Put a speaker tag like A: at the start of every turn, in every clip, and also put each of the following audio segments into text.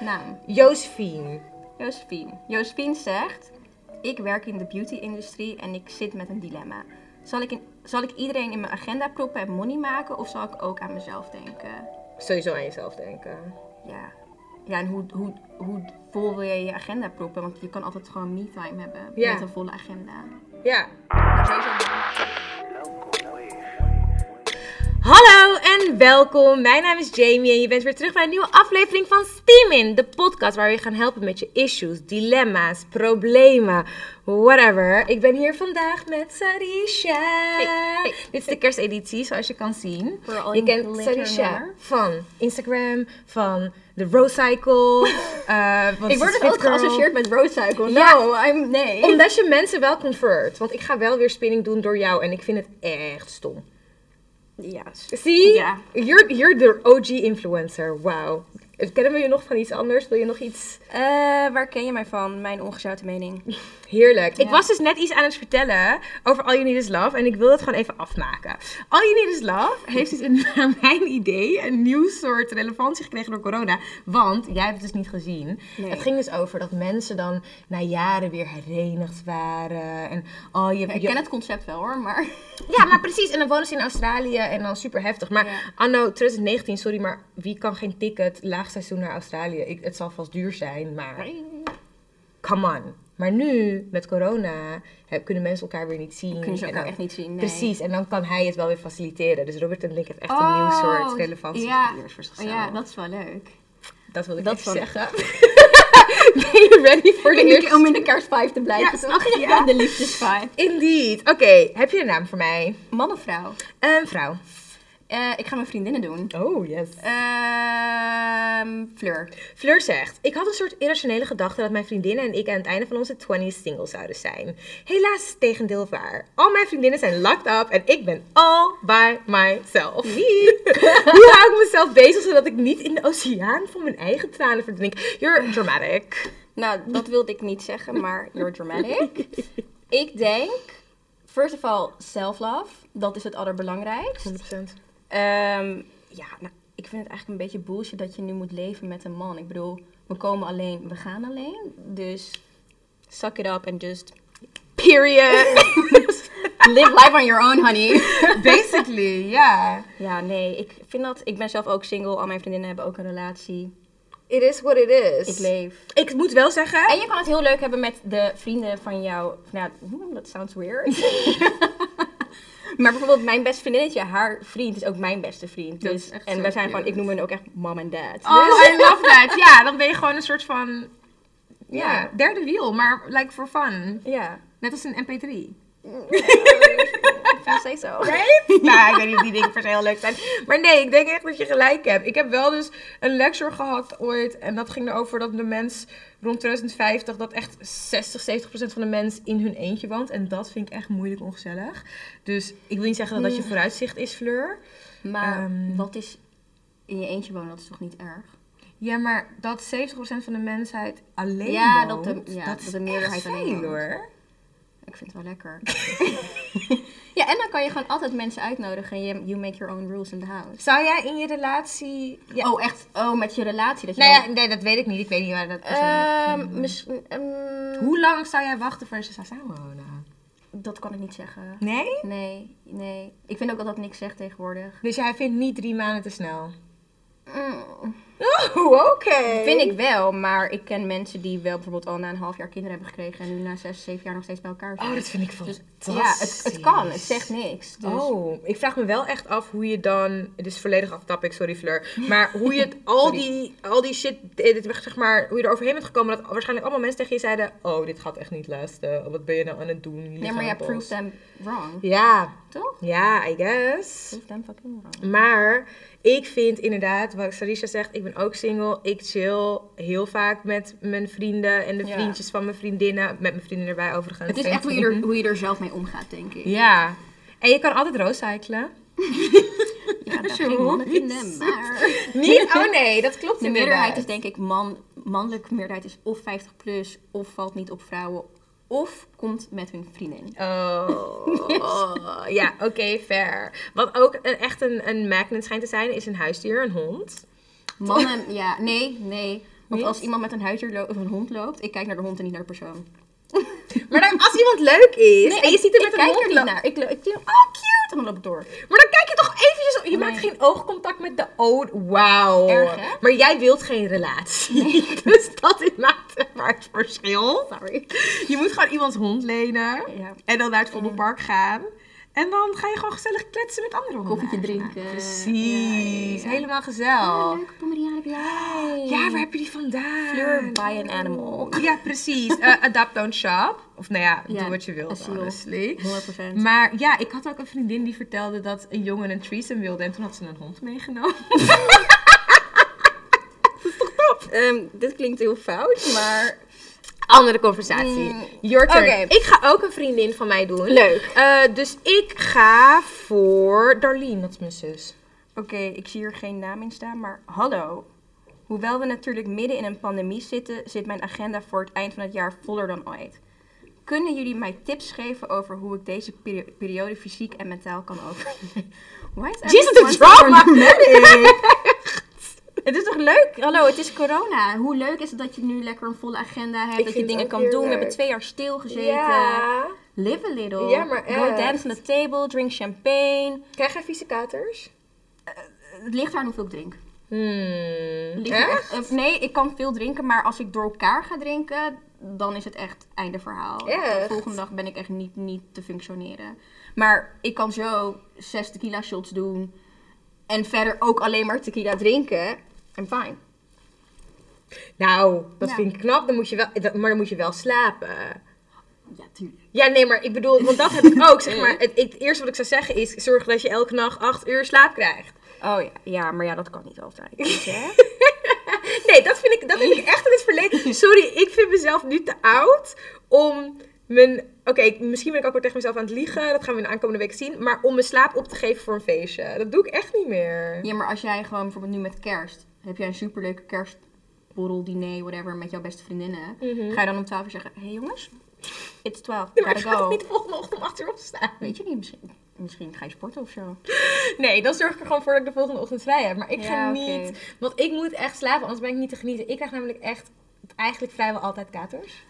A: naam.
B: Josephine.
A: Josephine. Josephine zegt: Ik werk in de beauty-industrie en ik zit met een dilemma. Zal ik, in- zal ik iedereen in mijn agenda proppen en money maken, of zal ik ook aan mezelf denken?
B: Sowieso aan jezelf denken.
A: Ja. Ja, en hoe, hoe, hoe vol wil je je agenda proppen? Want je kan altijd gewoon me-time hebben
B: Ja.
A: met een volle agenda.
B: Ja.
A: Maar sowieso-
B: Hallo en welkom. Mijn naam is Jamie en je bent weer terug bij een nieuwe aflevering van Steam In. De podcast waar we je gaan helpen met je issues, dilemma's, problemen, whatever. Ik ben hier vandaag met Sarisha.
A: hey.
B: Dit is de kersteditie, zoals je kan zien.
A: We're all
B: Je
A: in
B: kent
A: glitter,
B: Sarisha
A: hoor.
B: van Instagram, van de Road Cycle. eh, want
A: Ik
B: ze is
A: word
B: fit
A: ook
B: girl.
A: geassocieerd met roadcycle.
B: Ja.
A: No, I'm, nee.
B: Omdat je mensen wel convert. Want ik ga wel weer spinning doen door jou en ik vind het echt stom.
A: Ja.
B: Zie?
A: Ja.
B: You're, you're the OG influencer. Wauw. Kennen we je nog van iets anders? Wil je nog iets?
A: Eh, waar ken je mij van? Mijn ongezouten mening.
B: Heerlijk. Ik
A: Ja.
B: was dus net iets aan het vertellen over All You Need Is Love. En ik wil dat gewoon even afmaken. All You Need Is Love heeft dus een, naar mijn idee een nieuw soort relevantie gekregen door corona. Want, jij hebt het dus niet gezien.
A: Nee.
B: Het ging dus over dat mensen dan na jaren weer herenigd waren. En oh, je,
A: Ja, ik
B: je-
A: ken het concept wel hoor, maar.
B: Ja, maar precies. En dan wonen ze in Australië en dan super heftig. Maar
A: Ja.
B: anno 2019, sorry, maar wie kan geen ticket laagseizoen naar Australië? Ik, het zal vast duur zijn, maar come on. Maar nu, met corona, hè, kunnen mensen elkaar weer niet zien.
A: Kunnen ze
B: En
A: elkaar
B: dan-
A: echt niet zien. Nee.
B: Precies, en dan kan hij het wel weer faciliteren. Dus Robert en Link heeft echt een
A: Oh,
B: nieuw soort relevantie
A: ja. Oh,
B: gecreëerd voor zichzelf.
A: Ja, dat is wel leuk.
B: Dat wil ik
A: dat
B: even
A: is wel-
B: zeggen. ben je ready voor de
A: In
B: eerste?
A: de, om in de kerstvibe te blijven.
B: Ja,
A: toch?
B: ach, ja.
A: De liefdesvibe.
B: Indeed. Oké, heb je een naam voor mij?
A: Man of vrouw?
B: Een vrouw.
A: Eh, ik ga mijn vriendinnen doen.
B: Oh, yes.
A: Ehm Fleur.
B: Fleur zegt: Ik had een soort irrationele gedachte dat mijn vriendinnen en ik aan het einde van onze 20s single zouden zijn. Helaas is het tegendeel waar. Al mijn vriendinnen zijn locked up en ik ben all by myself. Hoe hou ik mezelf bezig zodat ik niet in de oceaan van mijn eigen tranen verdrink? You're dramatic.
A: Nou, dat wilde ik niet zeggen, maar you're dramatic. ik denk, first of all, self-love. Dat is het allerbelangrijkst.
B: 100%.
A: Ehm, ja, nou, ik vind het eigenlijk een beetje bullshit dat je nu moet leven met een man. Ik bedoel, we komen alleen, we gaan alleen. Dus suck it up and just
B: Period.
A: live life on your own, honey.
B: Basically, ja.
A: ja, nee, ik vind dat. Ik ben zelf ook single. Al mijn vriendinnen hebben ook een relatie.
B: It is what it is.
A: Ik leef.
B: Ik moet wel zeggen.
A: En je kan het heel leuk hebben met de vrienden van jou. Nou, hmm, that sounds weird. maar bijvoorbeeld mijn beste vriendinnetje, haar vriend is ook mijn beste vriend.
B: Dat
A: Dus,
B: is echt
A: en
B: zo
A: wij zijn gewoon,
B: cute.
A: ik noem hen ook echt mom en dad. Dus-
B: Oh, I love that. Ja, dan ben je gewoon een soort van. Ja,
A: Ja.
B: derde wiel, maar like for fun.
A: ja.
B: Net als een MP3.
A: If you say so.
B: nou, ik weet niet of die dingen per se heel leuk zijn. Maar nee, ik denk echt dat je gelijk hebt. Ik heb wel dus een lecture gehad ooit. En dat ging erover dat de mens rond 2050... dat echt 60, 70 procent van de mens in hun eentje woont. En dat vind ik echt moeilijk ongezellig. Dus ik wil niet zeggen dat dat je vooruitzicht is, Fleur.
A: Maar
B: Ehm.
A: wat is in je eentje wonen, dat is toch niet erg?
B: Ja, maar dat 70 procent van de mensheid alleen
A: Ja,
B: woont...
A: dat de- ja,
B: dat is
A: dat de meerderheid
B: echt
A: alleen
B: veel,
A: woont.
B: hoor.
A: Ik vind het wel lekker. ja, en dan kan je gewoon altijd mensen uitnodigen. en Je, you make your own rules in the house.
B: Zou jij in je relatie... Ja.
A: Oh, echt? Oh, met je relatie. Dat je
B: Nou
A: dan-
B: ja, nee, dat weet ik niet. Ik weet niet waar dat persoonlijk-
A: Ehm, misschien, ehm,
B: Hoe lang zou jij wachten voor ze zou samenwonen?
A: Dat kan ik niet zeggen.
B: Nee?
A: Nee, nee. Ik vind ook dat dat niks zegt tegenwoordig.
B: Dus jij vindt niet drie maanden te snel?
A: Mm,
B: Oh, oké.
A: Vind ik wel, maar ik ken mensen die wel bijvoorbeeld al na een half jaar kinderen hebben gekregen. En nu na zes, zeven jaar nog steeds bij elkaar zijn.
B: Oh, dat vind ik
A: Dus
B: fantastisch.
A: ja, het, het kan. Het zegt niks. Dus.
B: Oh, ik vraag me wel echt af hoe je dan... Het is volledig aftap, ik, sorry Fleur. Maar hoe je het- al, die, al die shit, eh, dit, zeg maar, hoe je er overheen bent gekomen... dat waarschijnlijk allemaal mensen tegen je zeiden... Oh, dit gaat echt niet luisteren. Wat ben je nou aan het doen?
A: Nee, maar jij
B: Lichaam,
A: proved
B: bos."
A: them wrong.
B: Ja,
A: Toch?
B: ja, I guess.
A: Proved them fucking wrong.
B: Maar ik vind inderdaad, wat Sarisha zegt, ik ben ook single. Ik chill heel vaak met mijn vrienden en de
A: Ja.
B: vriendjes van mijn vriendinnen. Met mijn vrienden erbij overigens.
A: Het is echt hoe je, er, hoe je er zelf mee omgaat, denk ik.
B: Ja. En je kan altijd roadcyclen.
A: Ja, dat
B: Zo.
A: geen mannen vinden, maar...
B: Niet? Oh nee, dat klopt
A: De meerderheid is denk ik man, mannelijke meerderheid is of 50 plus, of valt niet op vrouwen, of komt met hun vriendin.
B: Oh, ja, oké, fair. Wat ook een- echt een, een magnet schijnt te zijn, is een huisdier, een hond.
A: Mannen, ja, nee, nee. Want
B: Niet?
A: als iemand met een huisdier loopt of een hond loopt, ik kijk naar de hond en niet naar de persoon. Dus
B: Maar dan, als iemand leuk is en je
A: ik-
B: ziet hem
A: ik
B: met een
A: kijk
B: hond
A: er niet
B: lo-
A: naar. Ik, lo- ik denk, oh cute, en dan loop ik door.
B: Maar dan kijk je toch eventjes... op- Je
A: Nee.
B: maakt geen oogcontact met de oog. Wauw.
A: Erg, hè?
B: Maar jij wilt geen relatie. Dus dat is maakt, maakt verschil. Sorry. Je moet gewoon iemands hond lenen.
A: Ja.
B: En dan naar het Vondelpark gaan. En dan ga je gewoon gezellig kletsen met andere honden.
A: Koffietje
B: eigenlijk.
A: drinken.
B: Precies.
A: Ja, ja, ja.
B: Helemaal gezellig.
A: leuke pomeriaan heb jij.
B: Ja, waar heb je die vandaan?
A: Fleur by an animal.
B: Ja, precies. Eh, adapt, don't shop. Of nou ja,
A: Ja,
B: doe wat je wilt,
A: asiel.
B: honestly.
A: 100%.
B: Maar ja, ik had ook een vriendin die vertelde dat een jongen een threesome wilde. En toen had ze een hond meegenomen.
A: Ehm, dit klinkt heel fout, maar
B: Andere conversatie.
A: Mm,
B: Your turn.
A: oké.
B: Ik ga ook een vriendin van mij doen.
A: Leuk.
B: Eh, dus ik ga voor Darlene, dat is mijn zus.
A: oké, ik zie hier geen naam in staan, maar hallo. Hoewel we natuurlijk midden in een pandemie zitten, zit mijn agenda voor het eind van het jaar voller dan ooit. Kunnen jullie mij tips geven over hoe ik deze peri- periode fysiek en mentaal kan overleven? Why is
B: Jesus,
A: everyone
B: the
A: so
B: drama!
A: Het is toch leuk? Hallo, het is corona. Hoe leuk is het dat je nu lekker een volle agenda hebt,
B: Ik
A: dat je
B: vind
A: dingen
B: het
A: kan
B: ook
A: doen.
B: heel
A: We hebben
B: leuk.
A: twee jaar stilgezeten.
B: ja.
A: Live a little.
B: Ja, maar
A: Go
B: echt.
A: dance on the table, drink champagne.
B: Krijg jij vieze katers?
A: Het ligt aan hoeveel ik drink.
B: Hmm.
A: Het ligt
B: Echt?
A: echt- eh, nee, ik kan veel drinken, maar als ik door elkaar ga drinken, dan is het echt einde verhaal.
B: Echt?
A: De volgende dag ben ik echt niet, niet te functioneren. Maar ik kan zo zes tequila shots doen en verder ook alleen maar tequila drinken. I'm fine.
B: Nou, dat
A: Ja.
B: vind ik knap. Dan moet je wel, dat- maar dan moet je wel slapen.
A: Ja, tuurlijk.
B: Ja, nee, maar ik bedoel, want dat heb ik ook. Zeg maar, het, ik- het eerste wat ik zou zeggen is: zorg dat je elke nacht acht uur slaap krijgt.
A: Oh ja, ja maar ja, dat kan niet altijd. Dus, hè?
B: Nee, dat vind ik, dat heb ik echt in het verleden. Sorry, ik vind mezelf nu te oud om mijn. Oké, ik- misschien ben ik ook weer tegen mezelf aan het liegen. Dat gaan we in de aankomende week zien. Maar om mijn slaap op te geven voor een feestje. Dat doe ik echt niet meer.
A: Ja, maar als jij gewoon bijvoorbeeld nu met kerst, heb jij een superleuke kerstborrel, diner, whatever, met jouw beste vriendinnen. Ga je dan om 12 uur zeggen, hé hey jongens, it's 12,
B: Nee, Mhm. maar ik
A: gotta go.
B: ga toch niet de volgende ochtend om acht uur opstaan.
A: Weet je niet, misschien, misschien ga je sporten of zo.
B: Nee, dan zorg ik er gewoon voor dat ik de volgende ochtend vrij heb. Maar ik ga
A: Ja, oké.
B: niet. Want ik moet echt slapen, anders ben ik niet te genieten. Ik krijg namelijk echt eigenlijk vrijwel altijd katers.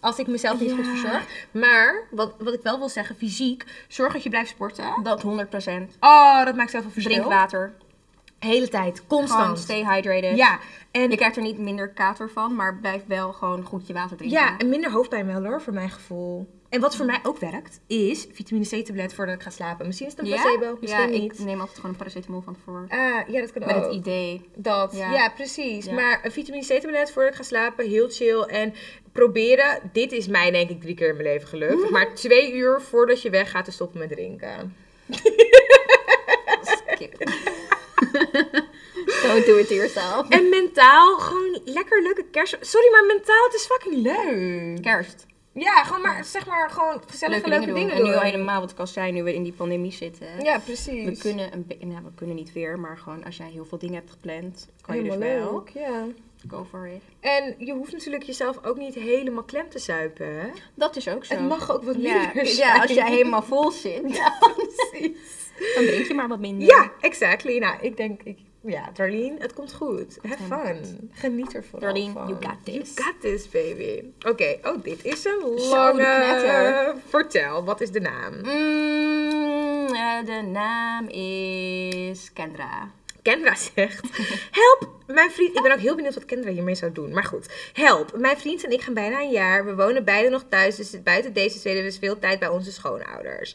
B: Als ik mezelf niet
A: Ja.
B: goed verzorg. Maar wat, wat ik wel wil zeggen, fysiek, zorg dat je blijft sporten.
A: Dat 100%.
B: Oh, dat maakt zoveel verschil.
A: Drink water,
B: Hele tijd,
A: gewoon
B: constant.
A: stay hydrated.
B: Ja, en,
A: Je krijgt er niet minder kater van, maar blijf wel gewoon goed je water drinken.
B: ja, en minder hoofdpijn wel hoor, voor mijn gevoel. En wat voor mij ook werkt, is vitamine C-tablet voordat ik ga slapen. Misschien is het een
A: Ja?
B: placebo, misschien
A: ja,
B: niet.
A: ik neem altijd gewoon een paracetamol van tevoren.
B: Ah, ja, dat kan
A: Met
B: ook.
A: het idee.
B: Dat, ja,
A: Ja.
B: precies.
A: Ja.
B: Maar een vitamine C-tablet voordat ik ga slapen, heel chill. En proberen, dit is mij denk ik drie keer in mijn leven gelukt. Maar twee uur voordat je weggaat te stoppen met drinken.
A: Skip. Don't do it to yourself.
B: En mentaal, gewoon lekker leuke kerst... Sorry, maar mentaal, het is fucking leuk.
A: Kerst.
B: Ja, gewoon maar, zeg maar, gewoon gezellige leuke, dingen,
A: En
B: doen.
A: nu al helemaal, wat ik al zei, nu we in die pandemie zitten.
B: Ja, precies.
A: We kunnen, een be- nou, we kunnen niet weer, maar gewoon als jij heel veel dingen hebt gepland, kan je
B: Helemaal
A: dus wel.
B: leuk, ja.
A: Go for it.
B: En je hoeft natuurlijk jezelf ook niet helemaal klem te zuipen, hè?
A: Dat is ook zo.
B: Het mag ook wat
A: ja,
B: minder zijn.
A: ja, als jij helemaal vol zit,
B: Precies.
A: dan drink je maar wat minder.
B: Ja, exactly. Nou, ik denk, ik, ja, Darlene, het komt goed. Have
A: helemaal
B: fun. Geniet ervoor.
A: Darlene,
B: van.
A: you got this.
B: You got this, baby. Oké, oh, dit is een
A: de
B: lange.
A: knetter.
B: Vertel, wat is de naam?
A: Mm, eh, de naam is Kendra.
B: Kendra zegt: Help, mijn vriend. Ik ben ook heel benieuwd wat Kendra hiermee zou doen. Maar goed, help. Mijn vriend en ik gaan bijna een jaar. We wonen beide nog thuis. Dus buiten deze tweede is veel tijd bij onze schoonouders.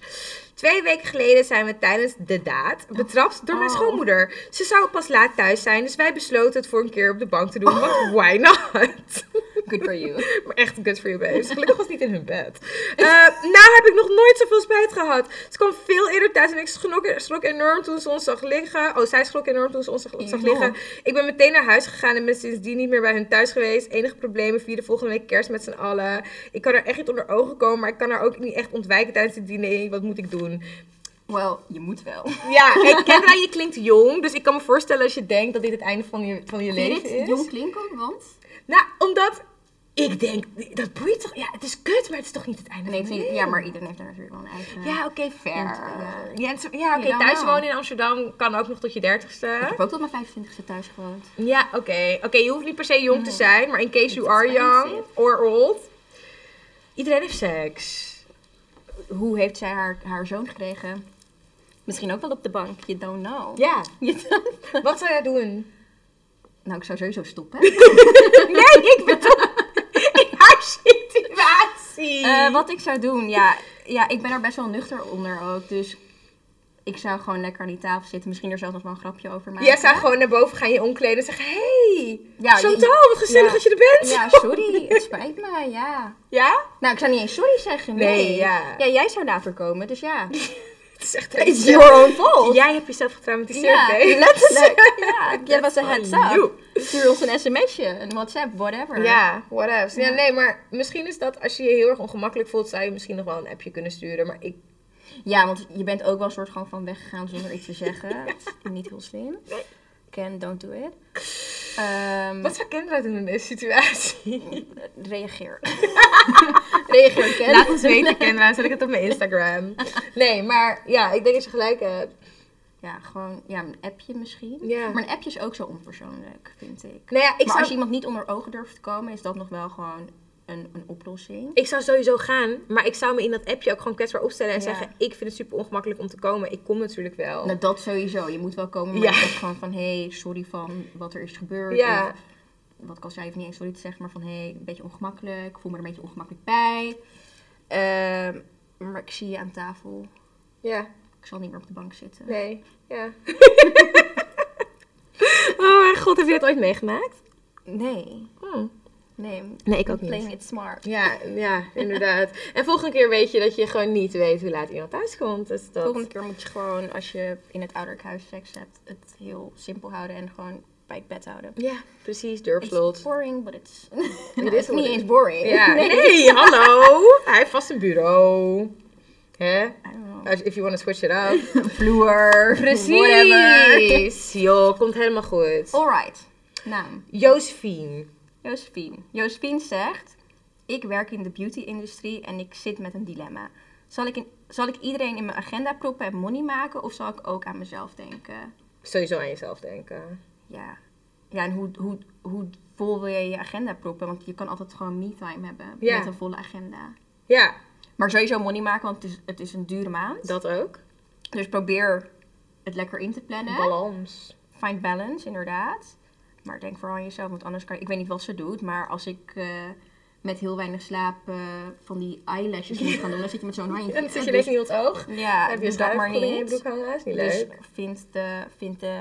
B: Twee weken geleden zijn we tijdens de daad betrapt door mijn
A: Oh.
B: schoonmoeder. Ze zou pas laat thuis zijn. Dus wij besloten het voor een keer op de bank te doen. Want why not?
A: Good for you.
B: Maar echt good for you, babes. Gelukkig was het niet in hun bed. Eh, nou heb ik nog nooit zoveel spijt gehad. Ze kwam veel eerder thuis en ik schrok, schrok enorm toen ze ons zag liggen. Oh, zij schrok enorm toen ze ons zag, zag liggen. Ik ben meteen naar huis gegaan en ben sindsdien niet meer bij hun thuis geweest. Enige problemen vieren volgende week kerst met z'n allen. Ik kan er echt niet onder ogen komen, maar ik kan haar ook niet echt ontwijken tijdens het diner. Wat moet ik doen?
A: Wel, je moet wel.
B: Ja, hey, Kendra, je klinkt jong. Dus ik kan me voorstellen als je denkt dat dit het einde van je, van je
A: Vind
B: leven
A: je dit
B: is.
A: jong klinken, want...
B: Nou, omdat Ik denk, dat boeit toch? Ja, het is kut, maar het is toch niet het einde
A: Nee, ik
B: van de
A: vind-
B: wereld?
A: ja, maar iedereen heeft daar natuurlijk wel een eigen...
B: Ja, oké, fair.
A: Ja.
B: Ja, het is- ja, oké,
A: Ja, dan
B: thuis
A: wel.
B: wonen in Amsterdam kan ook nog tot je
A: Ik
B: dertigste.
A: heb ook tot mijn 25e thuis gewoond.
B: Ja, oké. Oké, je hoeft niet per se jong te zijn, maar in case you
A: It's
B: are young
A: expensive.
B: or old. Iedereen heeft seks.
A: Hoe heeft zij haar, haar zoon gekregen? Misschien ook wel op de bank. You don't know.
B: Ja,
A: You don't know.
B: wat zou jij doen?
A: Nou, ik zou sowieso stoppen.
B: nee, ik bedoel in haar situatie.
A: Eh, wat ik zou doen, ja, ja, ik ben er best wel nuchter onder ook. Dus ik zou gewoon lekker aan die tafel zitten. Misschien er zelfs nog wel een grapje over maken.
B: Jij zou gewoon naar boven gaan, je omkleden en zeggen, hey,
A: Ja,
B: Chantal, wat gezellig
A: ja.
B: dat je er bent.
A: Ja, sorry. Het spijt me, ja.
B: Ja?
A: Nou, ik zou niet eens sorry zeggen. Nee,
B: Nee, ja.
A: jij zou daarvoor komen, dus ja.
B: Het is echt
A: It's your own fault.
B: Jij hebt jezelf getraumatiseerd,
A: Ja,
B: hè?
A: letterlijk. Ja, jij was een
B: That's
A: heads
B: on
A: up.
B: you.
A: Stuur ons een sms'je, een WhatsApp, whatever.
B: Ja, what else? Ja, nee, maar misschien is dat als je je heel erg ongemakkelijk voelt, zou je misschien nog wel een appje kunnen sturen. Maar ik.
A: Ja, want je bent ook wel een soort gewoon van weggegaan zonder iets te zeggen. Dat is Niet heel slim. Can, don't do it. Ehm,
B: Wat zou kinderen doen in deze situatie?
A: reageer. reageer, Ken.
B: Laat ons weten, kinderen. Zet ik het op mijn Instagram. Nee, maar ja, ik denk dat je gelijk hebt.
A: Ja, gewoon ja, een appje misschien.
B: Ja.
A: Maar een appje is ook zo onpersoonlijk, vind ik.
B: Nou ja, ik
A: maar
B: zou,
A: als je iemand niet onder ogen durft te komen, is dat nog wel gewoon een, een oplossing.
B: ik zou sowieso gaan, maar ik zou me in dat appje ook gewoon kwetsbaar opstellen en
A: Ja.
B: zeggen: Ik vind het super ongemakkelijk om te komen. Ik kom natuurlijk wel.
A: Nou, dat sowieso. Je moet wel komen, maar
B: Oh. Ja.
A: je zegt gewoon van... hé, hey, sorry van wat er is gebeurd.
B: Ja.
A: Of, wat ik al zei, even niet eens sorry te zeggen, maar van... hé, hey, een beetje ongemakkelijk. Ik voel me er een beetje ongemakkelijk bij. Ehm, maar ik zie je aan tafel.
B: Ja,
A: Ik zal niet meer op de bank zitten.
B: nee. Ja. oh, mijn god, heb je dat ooit meegemaakt?
A: Nee,
B: Hm.
A: nee.
B: Nee, ik ook niet.
A: Playing it smart.
B: Ja, ja, inderdaad. En volgende keer weet je dat je gewoon niet weet hoe laat iemand thuis komt. Dus dat...
A: Volgende keer moet je gewoon, als je in het ouderlijk huis seks hebt... het heel simpel houden en gewoon bij het bed houden.
B: Ja, precies,
A: It's
B: durfslot.
A: boring, but it's...
B: It
A: Het
B: is
A: is
B: what
A: niet
B: it
A: eens boring.
B: Ja. Nee, hallo! Hij heeft vast een bureau. Hè?
A: I don't know.
B: Als- If you want to switch it up.
A: Vloer. Whatever.
B: Precies! Joh, komt helemaal
A: Oh.
B: goed.
A: Alright. Nou. Naam.
B: Josephine.
A: Josephine. Josephine zegt: Ik werk in de beauty-industrie en ik zit met een dilemma. Zal ik, in- zal ik iedereen in mijn agenda proppen en money maken of zal ik ook aan mezelf denken?
B: Sowieso aan jezelf denken.
A: Ja. Ja, en hoe, hoe, hoe vol wil je je agenda proppen? Want je kan altijd gewoon me-time hebben
B: Ja.
A: met een volle agenda.
B: Ja,
A: Maar sowieso money maken, want het is, het is een dure maand.
B: dat ook.
A: Dus probeer het lekker in te plannen.
B: Balans.
A: Find balance, inderdaad. Maar denk vooral aan jezelf, want anders kan je... Ik weet niet wat ze doet, maar als ik eh, met heel weinig slaap eh, van die eyelashes moet gaan doen, dan zit je met zo'n handje.
B: En dan zit je ineens in het oog.
A: Dus- ja,
B: Dan heb je
A: doe dat maar
B: schuifkoeling in je
A: niet.
B: broek hangen. is niet
A: Dus
B: leuk.
A: vind de... Vind de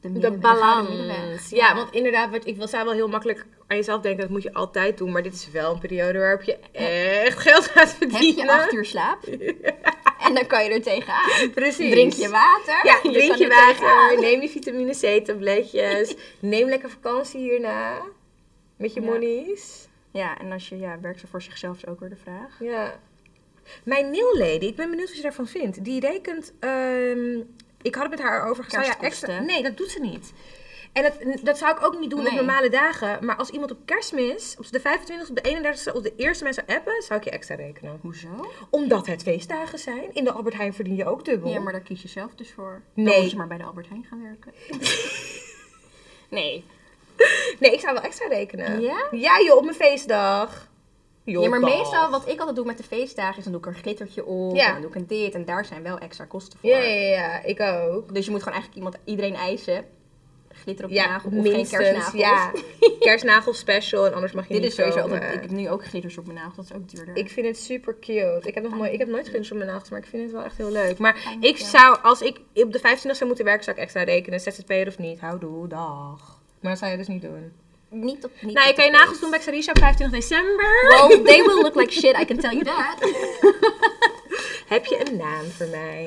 A: de,
B: De
A: middenweg,
B: balans.
A: de middenweg.
B: Ja, want inderdaad, wat ik wil, zou wel heel makkelijk aan jezelf denken, dat moet je altijd doen. Maar dit is wel een periode waarop je echt geld gaat
A: Heb
B: verdienen.
A: je acht uur slaap? En dan kan je er tegenaan.
B: Precies.
A: Drink je water?
B: Ja,
A: kan
B: drink je
A: er tegenaan.
B: water. Neem je vitamine C-tabletjes. neem lekker vakantie hierna. Met je
A: Ja.
B: monies.
A: Ja, en als je ja, werkt ze voor zichzelf is ook weer de vraag.
B: Ja. Mijn nail lady, ik ben benieuwd wat je daarvan vindt. Die rekent, ehm, ik had het met haar over zou jij
A: Kerstkosten.
B: extra. Nee, dat doet ze niet. En dat, dat zou ik ook niet doen op
A: Nee.
B: normale dagen. Maar als iemand op kerstmis, op de 25e, op de 31e, op de eerste mensen appen, zou ik je extra rekenen.
A: Hoezo?
B: Omdat het feestdagen zijn. In de Albert Heijn verdien je ook dubbel.
A: Ja, maar daar kies je zelf dus voor.
B: Nee.
A: Dan moet je maar bij de Albert Heijn gaan werken. nee.
B: Nee, ik zou wel extra rekenen.
A: Ja?
B: Ja joh, op mijn feestdag. Joh,
A: Ja, maar
B: dag.
A: meestal wat ik altijd doe met de feestdagen is dan doe ik er een glittertje op.
B: Ja.
A: En dan doe ik een dit. En daar zijn wel extra kosten voor.
B: Ja, ja, ja, ja, ik ook.
A: Dus je moet gewoon eigenlijk iemand, iedereen eisen. Glitter op je
B: Ja,
A: nagel of
B: minstens.
A: geen kerstnagels.
B: Ja, kerstnagel special en anders mag je
A: Dit
B: niet
A: is sowieso
B: komen.
A: altijd, ik heb nu ook glitters op mijn nagels, dat is ook duurder.
B: Ik vind het super cute. Ik heb nog nooit, ik heb nooit glitters op mijn nagels, maar ik vind het wel echt heel leuk. Maar
A: Dank
B: ik
A: je.
B: zou, als ik op de 25 zou moeten werken, zou ik extra rekenen. ZZP'er of niet, houdoe, dag. Maar dat zou je dus niet doen.
A: niet op, niet
B: Nou, je
A: op
B: kan je
A: de
B: nagels
A: feest.
B: doen bij Sarisha op 25 december.
A: Well, they will look like shit, I can tell you that.
B: Heb je een naam voor mij?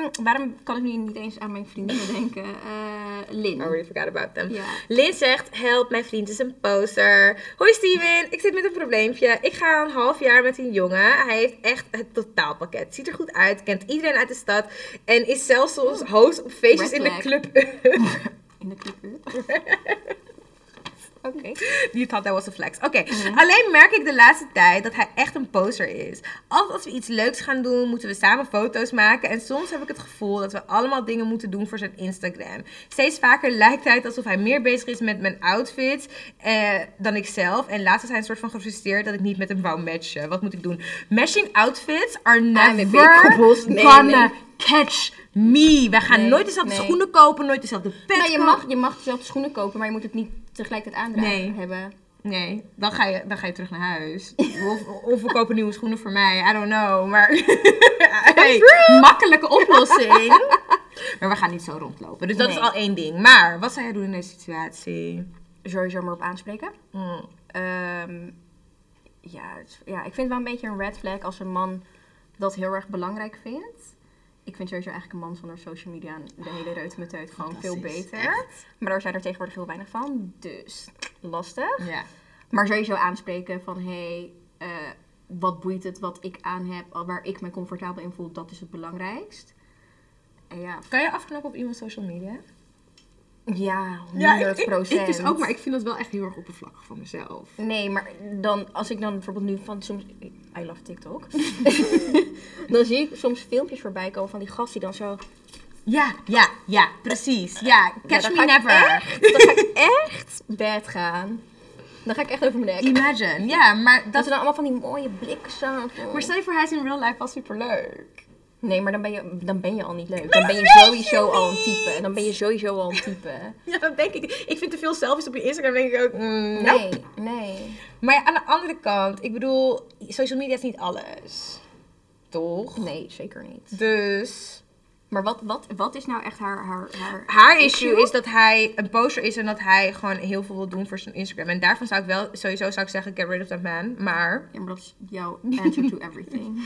A: Mm, waarom kan ik nu niet eens aan mijn vriendinnen denken? Eh,
B: I
A: Lin.
B: already forgot about them.
A: Ja.
B: Lin zegt, help, mijn vriend is een poser. Hoi Steven, ik zit met een probleempje. Ik ga een half jaar met een jongen. Hij heeft echt het totaalpakket. Ziet er goed uit, kent iedereen uit de stad. En is zelfs soms host op feestjes
A: Red
B: in de
A: flag.
B: club.
A: In de club. Oké.
B: You thought that was a flex. Oké.
A: Mhm.
B: Alleen merk ik de laatste tijd dat hij echt een poser is. Altijd als we iets leuks gaan doen, moeten we samen foto's maken. En soms heb ik het gevoel dat we allemaal dingen moeten doen voor zijn Instagram. Steeds vaker lijkt hij het alsof hij meer bezig is met mijn outfits eh, dan ik zelf. En laatst was hij een soort van gefrustreerd dat ik niet met hem wou matchen. Wat moet ik doen? Matching outfits are
A: AWB
B: never
A: koppels. Nee,
B: gonna
A: nee.
B: catch me. We gaan
A: Nee,
B: nooit dezelfde
A: nee.
B: schoenen kopen, nooit dezelfde pet
A: Nou, je
B: kopen.
A: mag, je mag dezelfde schoenen kopen, maar je moet het niet tegelijkertijd aandragen
B: Nee.
A: hebben.
B: Nee, dan ga je, dan ga je terug naar huis. Of, of we kopen nieuwe schoenen voor mij. I don't know. Maar Hey, makkelijke oplossing. maar we gaan niet zo rondlopen. Dus dat is
A: Nee.
B: al één ding. Maar wat zou jij doen in deze situatie?
A: Sowieso maar op aanspreken.
B: Mm.
A: Ehm, ja, het- ja, ik vind het wel een beetje een red flag als een man dat heel erg belangrijk vindt. Ik vind sowieso eigenlijk een man zonder social media en de hele reutemeteut gewoon veel
B: Fantastisch,
A: beter.
B: echt.
A: Maar daar zijn er tegenwoordig heel weinig van, dus lastig.
B: Ja.
A: Maar sowieso aanspreken van, hé, hey, eh, wat boeit het wat ik aan heb, al waar ik me comfortabel in voel, dat is het belangrijkst. En ja,
B: Kan je afknappen op iemands social media?
A: ja, 100%.
C: dus ook, maar ik vind dat wel echt heel erg oppervlakkig van mezelf.
A: Nee, maar dan, als ik dan bijvoorbeeld nu van soms. I love TikTok. dan zie ik soms filmpjes voorbij komen van die gast die dan zo.
B: Ja, ja, ja, precies. Ja,
A: Ja,
B: catch
A: dan
B: me
A: ga ik
B: never.
A: Echt, dan ga ik echt bed gaan. Dan ga ik echt over mijn nek.
B: Imagine. Ja, maar
A: Dat
B: dat
A: ze dan allemaal van die mooie blikken staan.
C: Maar stel je voor, hij is in real life wel superleuk.
A: Nee, maar dan ben, je, dan ben je al niet leuk. Dan ben je sowieso al een type. Dan ben je sowieso al een type.
B: Ja, dat denk ik. Ik vind te veel selfies op je Instagram, denk ik ook. mm, nope.
A: Nee, nee.
B: Maar ja, aan de andere kant, ik bedoel, social media is niet alles. Toch?
A: Nee, zeker niet.
B: Dus
A: Maar wat, wat, wat is nou echt haar. haar, haar...
B: haar issue is dat hij een poster is en dat hij gewoon heel veel wil doen voor zijn Instagram. En daarvan zou ik wel, sowieso zou ik zeggen, get rid of that man. Maar,
A: Ja, maar dat is jouw answer to everything.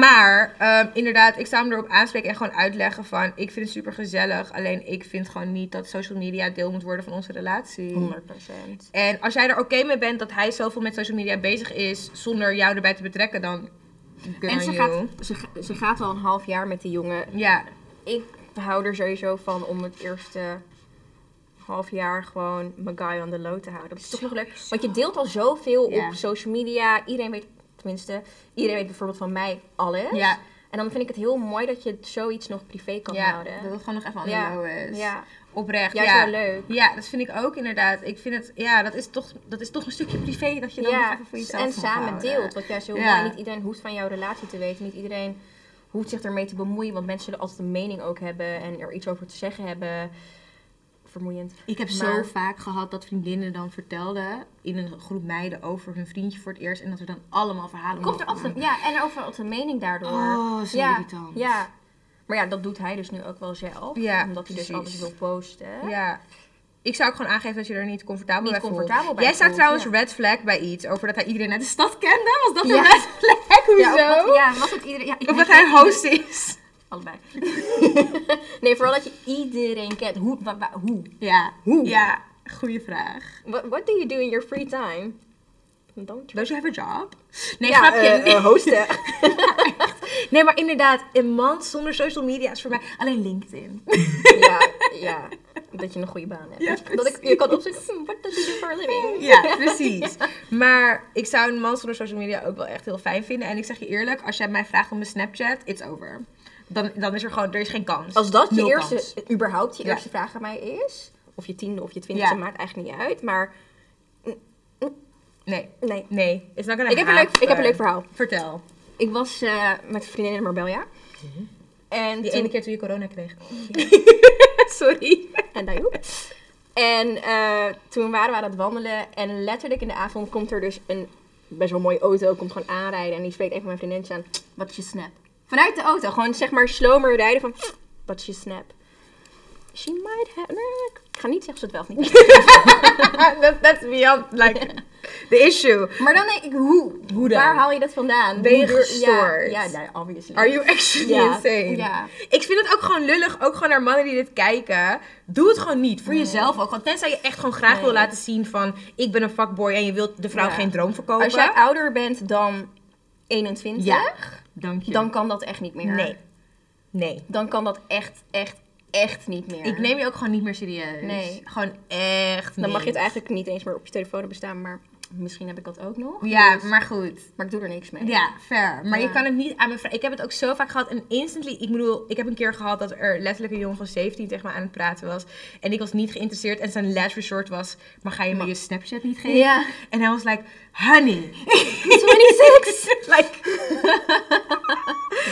B: maar ehm, inderdaad, ik zou hem erop aanspreken en gewoon uitleggen van, ik vind het super gezellig. Alleen ik vind gewoon niet dat social media deel moet worden van onze relatie.
A: 100%.
B: En als jij er oké mee bent dat hij zoveel met social media bezig is zonder jou erbij te betrekken, dan good
A: En
B: on
A: ze
B: you.
A: gaat, ze, ga- ze gaat al een half jaar met die jongen.
B: Ja,
A: Ik hou er sowieso van om het eerste half jaar gewoon mijn guy on the low te houden. Dat is toch nog leuk. Want je deelt al zoveel
B: Ja.
A: op social media. Iedereen weet, tenminste, iedereen weet bijvoorbeeld van mij alles.
B: ja.
A: En dan vind ik het heel mooi dat je zoiets nog privé kan
B: ja,
A: houden.
C: Dat het gewoon nog even aan
A: Ja,
C: de low is.
A: ja.
B: Oprecht,
A: Juist wel
B: ja.
A: leuk.
B: Ja, dat vind ik ook inderdaad. Ik vind het, ja, dat is toch, dat is toch een stukje privé dat je dan nog
A: Ja,
B: even voor jezelf
A: en
B: mag
A: samen
B: houden.
A: deelt. Wat juist heel
B: Ja.
A: mooi. Niet iedereen hoeft van jouw relatie te weten. Niet iedereen hoeft zich ermee te bemoeien. Want mensen zullen altijd een mening ook hebben. En er iets over te zeggen hebben. Vermoeiend.
C: Ik heb zo
A: Maar-
C: vaak gehad dat vriendinnen dan vertelden in een groep meiden over hun vriendje voor het eerst. En dat er dan allemaal verhalen
A: Komt er
C: omhoog
A: altijd een,
C: kwamen.
A: ja, en er overal altijd een mening daardoor.
C: Oh, zo
A: ja,
C: irritant.
A: Ja. Maar ja, dat doet hij dus nu ook wel zelf.
B: Ja,
A: omdat hij dus
B: precies.
A: alles wil posten.
B: Ja. Ik zou ook gewoon aangeven dat je er niet comfortabel
A: Niet
B: bij voelt.
A: comfortabel bij
B: Jij staat
A: voelt,
B: trouwens
A: ja.
B: red flag bij iets over dat hij iedereen uit de stad kende. Was dat
A: Ja.
B: een red flag?
A: Ja,
B: Hoezo?
A: of wat, ja, was het iedereen... Ja, ik
B: Of dat
A: weet
B: hij
A: het
B: een
A: niet.
B: host is.
A: Allebei. nee, vooral dat je iedereen kent. Hoe? wa- wa- hoe?
B: Ja.
A: Hoe?
B: Ja, goede vraag.
A: What, what do you do in your free time? Don't
B: Don't you have a job? Nee,
A: Ja,
B: grapje.
A: eh, eh, hosten.
B: nee, maar inderdaad, een man zonder social media is voor mij alleen LinkedIn.
A: ja, ja, dat je een goede baan hebt.
B: Ja,
A: dat ik, je kan opzoeken, hmm, what does he do for a living?
B: Ja, precies. Maar ik zou een man zonder social media ook wel echt heel fijn vinden. En ik zeg je eerlijk, als jij mij vraagt om mijn Snapchat, it's over. Dan, dan is er gewoon, er is geen kans.
A: Als dat je
B: Nul
A: eerste, eh,
B: kans.
A: überhaupt je
B: Ja.
A: eerste vraag aan mij is, of je tiende of je twintigste,
B: Ja.
A: maakt eigenlijk niet uit, maar
B: Nee,
A: nee.
B: nee. It's not gonna
A: Ik heb, een leuk, ik heb een leuk
B: happen.
A: verhaal.
B: Vertel.
A: Ik was eh, met vriendinnen in Marbella. En
B: Mhm. Die
A: toen-
B: ene keer toen je corona kreeg. Sorry.
A: En daar joep. En eh, toen waren we aan het wandelen en letterlijk in de avond komt er dus een best wel mooie auto, komt gewoon aanrijden en die spreekt een van mijn vriendinnetjes aan, wat is je snap? Vanuit de auto, gewoon zeg maar slomer rijden van, wat is je snap? She might have, nee, ik ga niet zeggen of ze het wel of niet.
B: That, that's beyond, like, the issue.
A: maar dan denk ik, hoe?
B: Hoe dan?
A: Waar haal je dat vandaan?
B: Ben je
A: Hoe durf-
B: gestoord?
A: Ja, ja, ja, obviously.
B: Are you actually
A: Ja,
B: insane?
A: ja.
B: Ik vind het ook gewoon lullig, ook gewoon naar mannen die dit kijken. Doe het gewoon niet, voor jezelf ook. Want tenzij je echt gewoon graag wil
A: Nee.
B: laten zien van... ik ben een fuckboy en je wilt de vrouw
A: Ja.
B: geen droom verkopen.
A: Als jij ouder bent dan 21,
B: Ja, dank je.
A: dan kan dat echt niet meer.
B: Nee. Nee.
A: Dan kan dat echt, echt, echt niet meer.
B: Ik neem je ook gewoon niet meer serieus.
A: Nee.
B: Gewoon echt
A: Dan mag je
B: niet.
A: het eigenlijk niet eens meer op je telefoon hebben staan, maar misschien heb ik dat ook nog.
B: Ja,
A: Dus-
B: maar goed.
A: maar ik doe er niks mee.
B: Ja, fair. Maar
A: Ja.
B: je kan het niet aan me vragen. Ik heb het ook zo vaak gehad. En instantly, ik bedoel, ik heb een keer gehad dat er letterlijk een jongen van 17 tegen me aan het praten was. En ik was niet geïnteresseerd. En zijn last resort was, maar ga je me je Snapchat niet geven?
A: Ja.
B: En hij was like, honey.
A: 26!
B: like,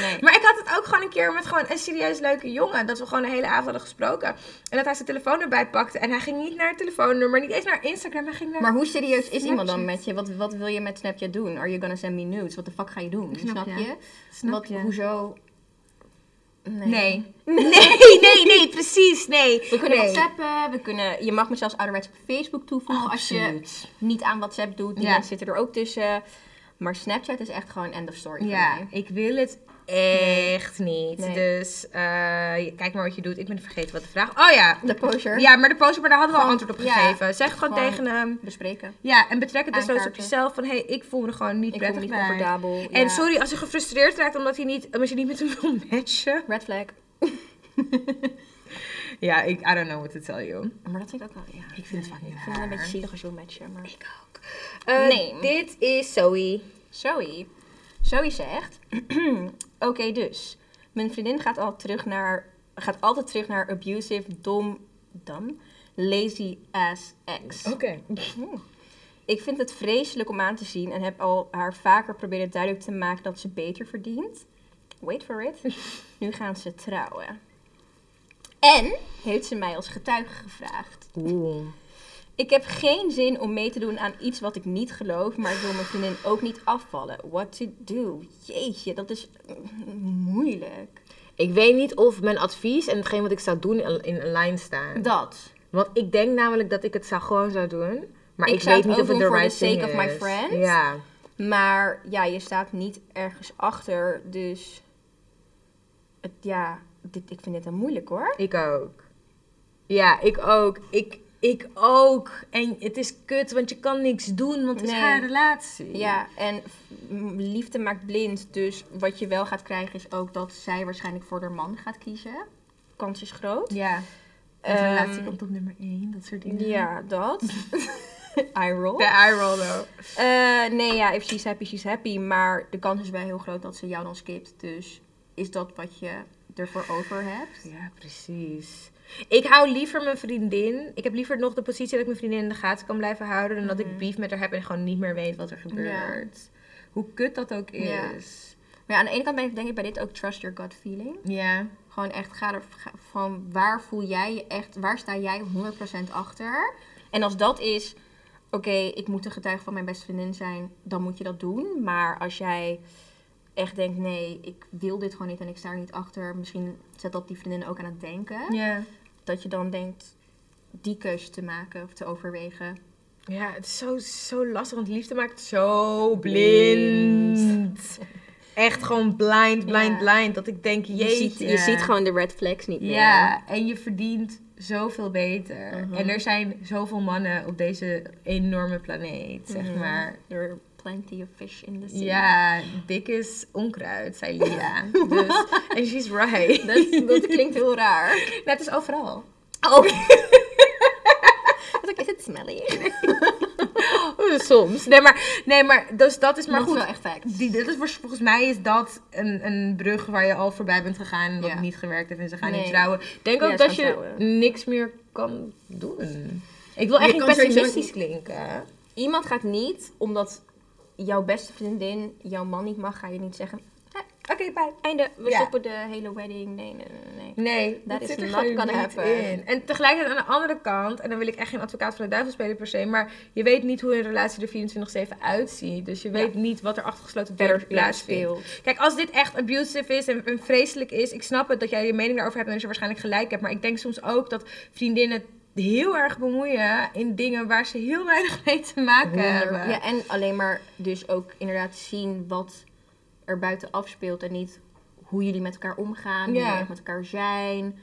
A: Nee.
B: maar ik had het ook gewoon een keer met gewoon een serieus leuke jongen. Dat we gewoon de hele avond hadden gesproken. En dat hij zijn telefoon erbij pakte. En hij ging niet naar het telefoonnummer, niet eens naar Instagram. Hij ging naar...
A: Maar hoe serieus is iemand dan
B: Snapchat.
A: met je? Wat, wat wil je met Snapchat doen? Are you gonna send me nudes? Wat de fuck ga je doen? Snap,
B: Snap
A: je?
B: je. Snap
A: wat,
B: je.
A: Hoezo? Nee.
B: Nee. Nee, nee, nee, precies, nee.
A: We kunnen
B: nee.
A: whatsappen, we kunnen, je mag me zelfs ouderwets op Facebook toevoegen als
B: Absoluut.
A: je niet aan whatsapp doet. Die
B: Ja.
A: mensen zitten er ook tussen. Maar Snapchat is echt gewoon end of story voor
B: Ja,
A: mij.
B: ik wil het echt niet.
A: Nee.
B: Dus eh, je- kijk maar wat je doet. Ik ben vergeten wat de vraag... Oh ja.
A: De poser.
B: Ja, maar de poster, maar daar hadden we al
A: Gewoon,
B: antwoord op
A: ja.
B: gegeven. zeg gewoon,
A: Gewoon-
B: tegen hem.
A: Bespreken.
B: Ja, en betrek het dus nooit op
A: Aankaarten.
B: jezelf. Van, hé, hey, ik voel me er gewoon niet
A: Ik voel me
B: prettig
A: niet
B: bij.
A: comfortabel.
B: En
A: ja.
B: sorry als je gefrustreerd raakt omdat, hij niet, omdat je niet met hem wil matchen.
A: Red flag.
B: Ja, ik, I don't know what to tell you.
A: Maar dat vind ik ook wel, ja. Ik
B: vind het fucking
A: vind het een beetje zielig als je wil matchen, maar...
B: Ik ook. Eh,
A: Nee.
B: Dit is Zoe.
A: Zoe. Zoe zegt: Oké, dus. Mijn vriendin gaat, al terug naar, gaat altijd terug naar abusive, dom, dom, lazy ass
B: Oh.
A: ex. Ik vind het vreselijk om aan te zien en heb al haar vaker proberen duidelijk te maken dat ze beter verdient. Wait for it. Nu gaan ze trouwen. En heeft ze mij als getuige gevraagd.
B: Oeh.
A: Ik heb geen zin om mee te doen aan iets wat ik niet geloof, maar ik wil mijn vriendin ook niet afvallen. What to do? Jeetje, dat is mm, moeilijk.
D: Ik weet niet of mijn advies en hetgeen wat ik zou doen in in een lijn staan.
A: Dat.
D: Want ik denk namelijk dat ik het zou gewoon zou doen. Maar
A: Ik
D: ik,
A: zou
D: weet
A: het
D: niet of
A: ook
D: het
A: doen
D: de
A: voor
D: right
A: the
D: thing
A: sake
D: is.
A: of my friend.
D: Ja.
A: Maar ja, je staat niet ergens achter, dus het, ja, dit, ik vind dit een moeilijk hoor.
D: Ik ook.
B: Ja, ik ook. Ik, ik ook. En het is kut, want je kan niks doen, want het
A: Nee.
B: is haar relatie.
A: Ja, en f- m, liefde maakt blind, dus wat je wel gaat krijgen is ook dat zij waarschijnlijk voor haar man gaat kiezen. Kans is groot.
B: Ja. Want
A: Ehm,
B: relatie komt op nummer 1, dat soort dingen.
A: Ja, dat. I roll.
B: De eye roll, though.
A: Eh, nee, ja, if she's happy, she's happy. Maar de kans is wel heel groot dat ze jou dan skipt. Dus is dat wat je ervoor over hebt?
B: Ja, precies. Ik hou liever mijn vriendin. Ik heb liever nog de positie dat ik mijn vriendin in de gaten kan blijven houden. Dan
A: Mhm.
B: dat ik beef met haar heb en gewoon niet meer weet wat er gebeurt. Hoe kut dat ook
A: Ja.
B: is.
A: Maar ja, aan de ene kant ben ik denk ik bij dit ook trust your gut feeling.
B: Ja.
A: Gewoon echt ga er ga- van waar voel jij je echt, waar sta jij 100% achter? En als dat is, oké, ik moet de getuige van mijn beste vriendin zijn, dan moet je dat doen. Maar als jij echt denkt, nee, ik wil dit gewoon niet en ik sta er niet achter, misschien zet dat die vriendin ook aan het denken.
B: Ja.
A: dat je dan denkt die keuze te maken of te overwegen.
B: Ja, het is zo, zo lastig, want liefde maakt zo blind. Echt gewoon blind, blind,
A: Ja.
B: blind. Dat ik denk, jeetje.
A: gewoon de red flags niet
B: Ja, en je verdient zoveel beter. En er zijn zoveel mannen op deze enorme planeet, zeg maar.
A: There are plenty of fish in the sea.
B: Ja, dik is onkruid, zei Lia. dus, en she's right.
A: Dat, dat klinkt heel raar.
B: Net is overal.
A: Oh. is het smelly? Oh,
B: Soms. Nee, maar, nee, maar dus dat is maar
A: Maar goed,
B: goed.
A: wel echt fact.
B: Die, dat is voor- volgens mij is dat een, een brug waar je al voorbij bent gegaan. Wat
A: Ja.
B: niet gewerkt heeft en ze gaan
A: Nee.
B: niet trouwen. Ik Denk
A: Ja,
B: ook
A: ze
B: dat
A: gaan
B: je
A: trouwen.
B: niks meer kan doen. Ik wil echt
A: Je
B: niet
A: kan sowieso
B: pessimistisch klinken.
A: Iemand gaat niet, omdat jouw beste vriendin jouw man niet mag, ga je niet zeggen. "Hè, Oké, bye. Einde. We
B: Ja.
A: stoppen de hele wedding. Nee, nee, nee, nee.
B: Nee,
A: That is
B: zit er
A: not
B: gewoon
A: gonna
B: niet
A: happen.
B: in. En tegelijkertijd aan de andere kant, en dan wil ik echt geen advocaat van de duivel spelen per se, maar je weet niet hoe een relatie er 24-7 uitziet. Dus je weet niet wat er achter gesloten deuren
A: Verder
B: plaatsvindt.
A: speelt.
B: Kijk, als dit echt abusive is en, en vreselijk is, ik snap het dat jij je mening daarover hebt en dat je waarschijnlijk gelijk hebt. Maar ik denk soms ook dat vriendinnen heel erg bemoeien in dingen waar ze heel weinig mee te maken hebben.
A: Ja, en alleen maar dus ook inderdaad zien wat er buiten afspeelt en niet hoe jullie met elkaar omgaan, hoe
B: Ja.
A: jullie echt met elkaar zijn.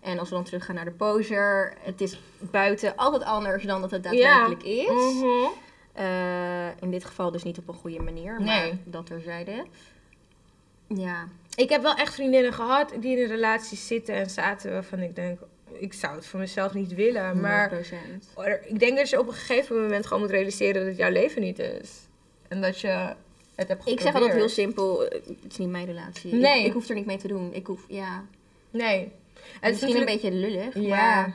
A: En als we dan teruggaan naar de poser, het is buiten altijd anders dan dat het daadwerkelijk is.
B: Mhm.
A: Eh, in dit geval dus niet op een goede manier, maar
B: Nee.
A: dat er zeiden. Ja.
B: Ik heb wel echt vriendinnen gehad die in een relatie zitten en zaten waarvan ik denk, ik zou het voor mezelf niet willen. Maar
A: 100%.
B: ik denk dat je op een gegeven moment gewoon moet realiseren dat het jouw leven niet is. En dat je het hebt
A: Ik
B: geprobeerd.
A: zeg altijd heel simpel, eh, het is niet mijn relatie. Ik-
B: Nee.
A: Ik, hoef er niet mee te doen. Ik hoef, ja.
B: Nee.
A: Het
B: Het
A: is misschien een beetje lullig,
B: Ja.
A: maar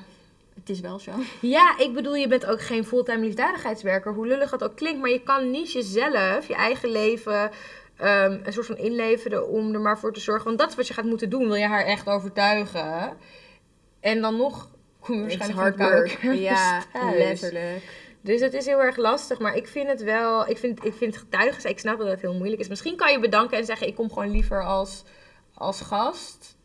A: het is wel zo.
B: Ja, ik bedoel, je bent ook geen fulltime liefdadigheidswerker. Hoe lullig dat ook klinkt. Maar je kan niet jezelf, je eigen leven, ehm, een soort van inleveren om er maar voor te zorgen. Want dat is wat je gaat moeten doen. Wil je haar echt overtuigen? En dan nog kom je
A: Het is
B: waarschijnlijk
A: hard
B: van koude
A: work.
B: kermis
A: Ja,
B: thuis.
A: letterlijk.
B: Dus het is heel erg lastig. Maar ik vind het wel, ik vind, ik vind getuigen, zijn- ik snap dat het heel moeilijk is. Misschien kan je bedanken en zeggen, ik kom gewoon liever als, als gast.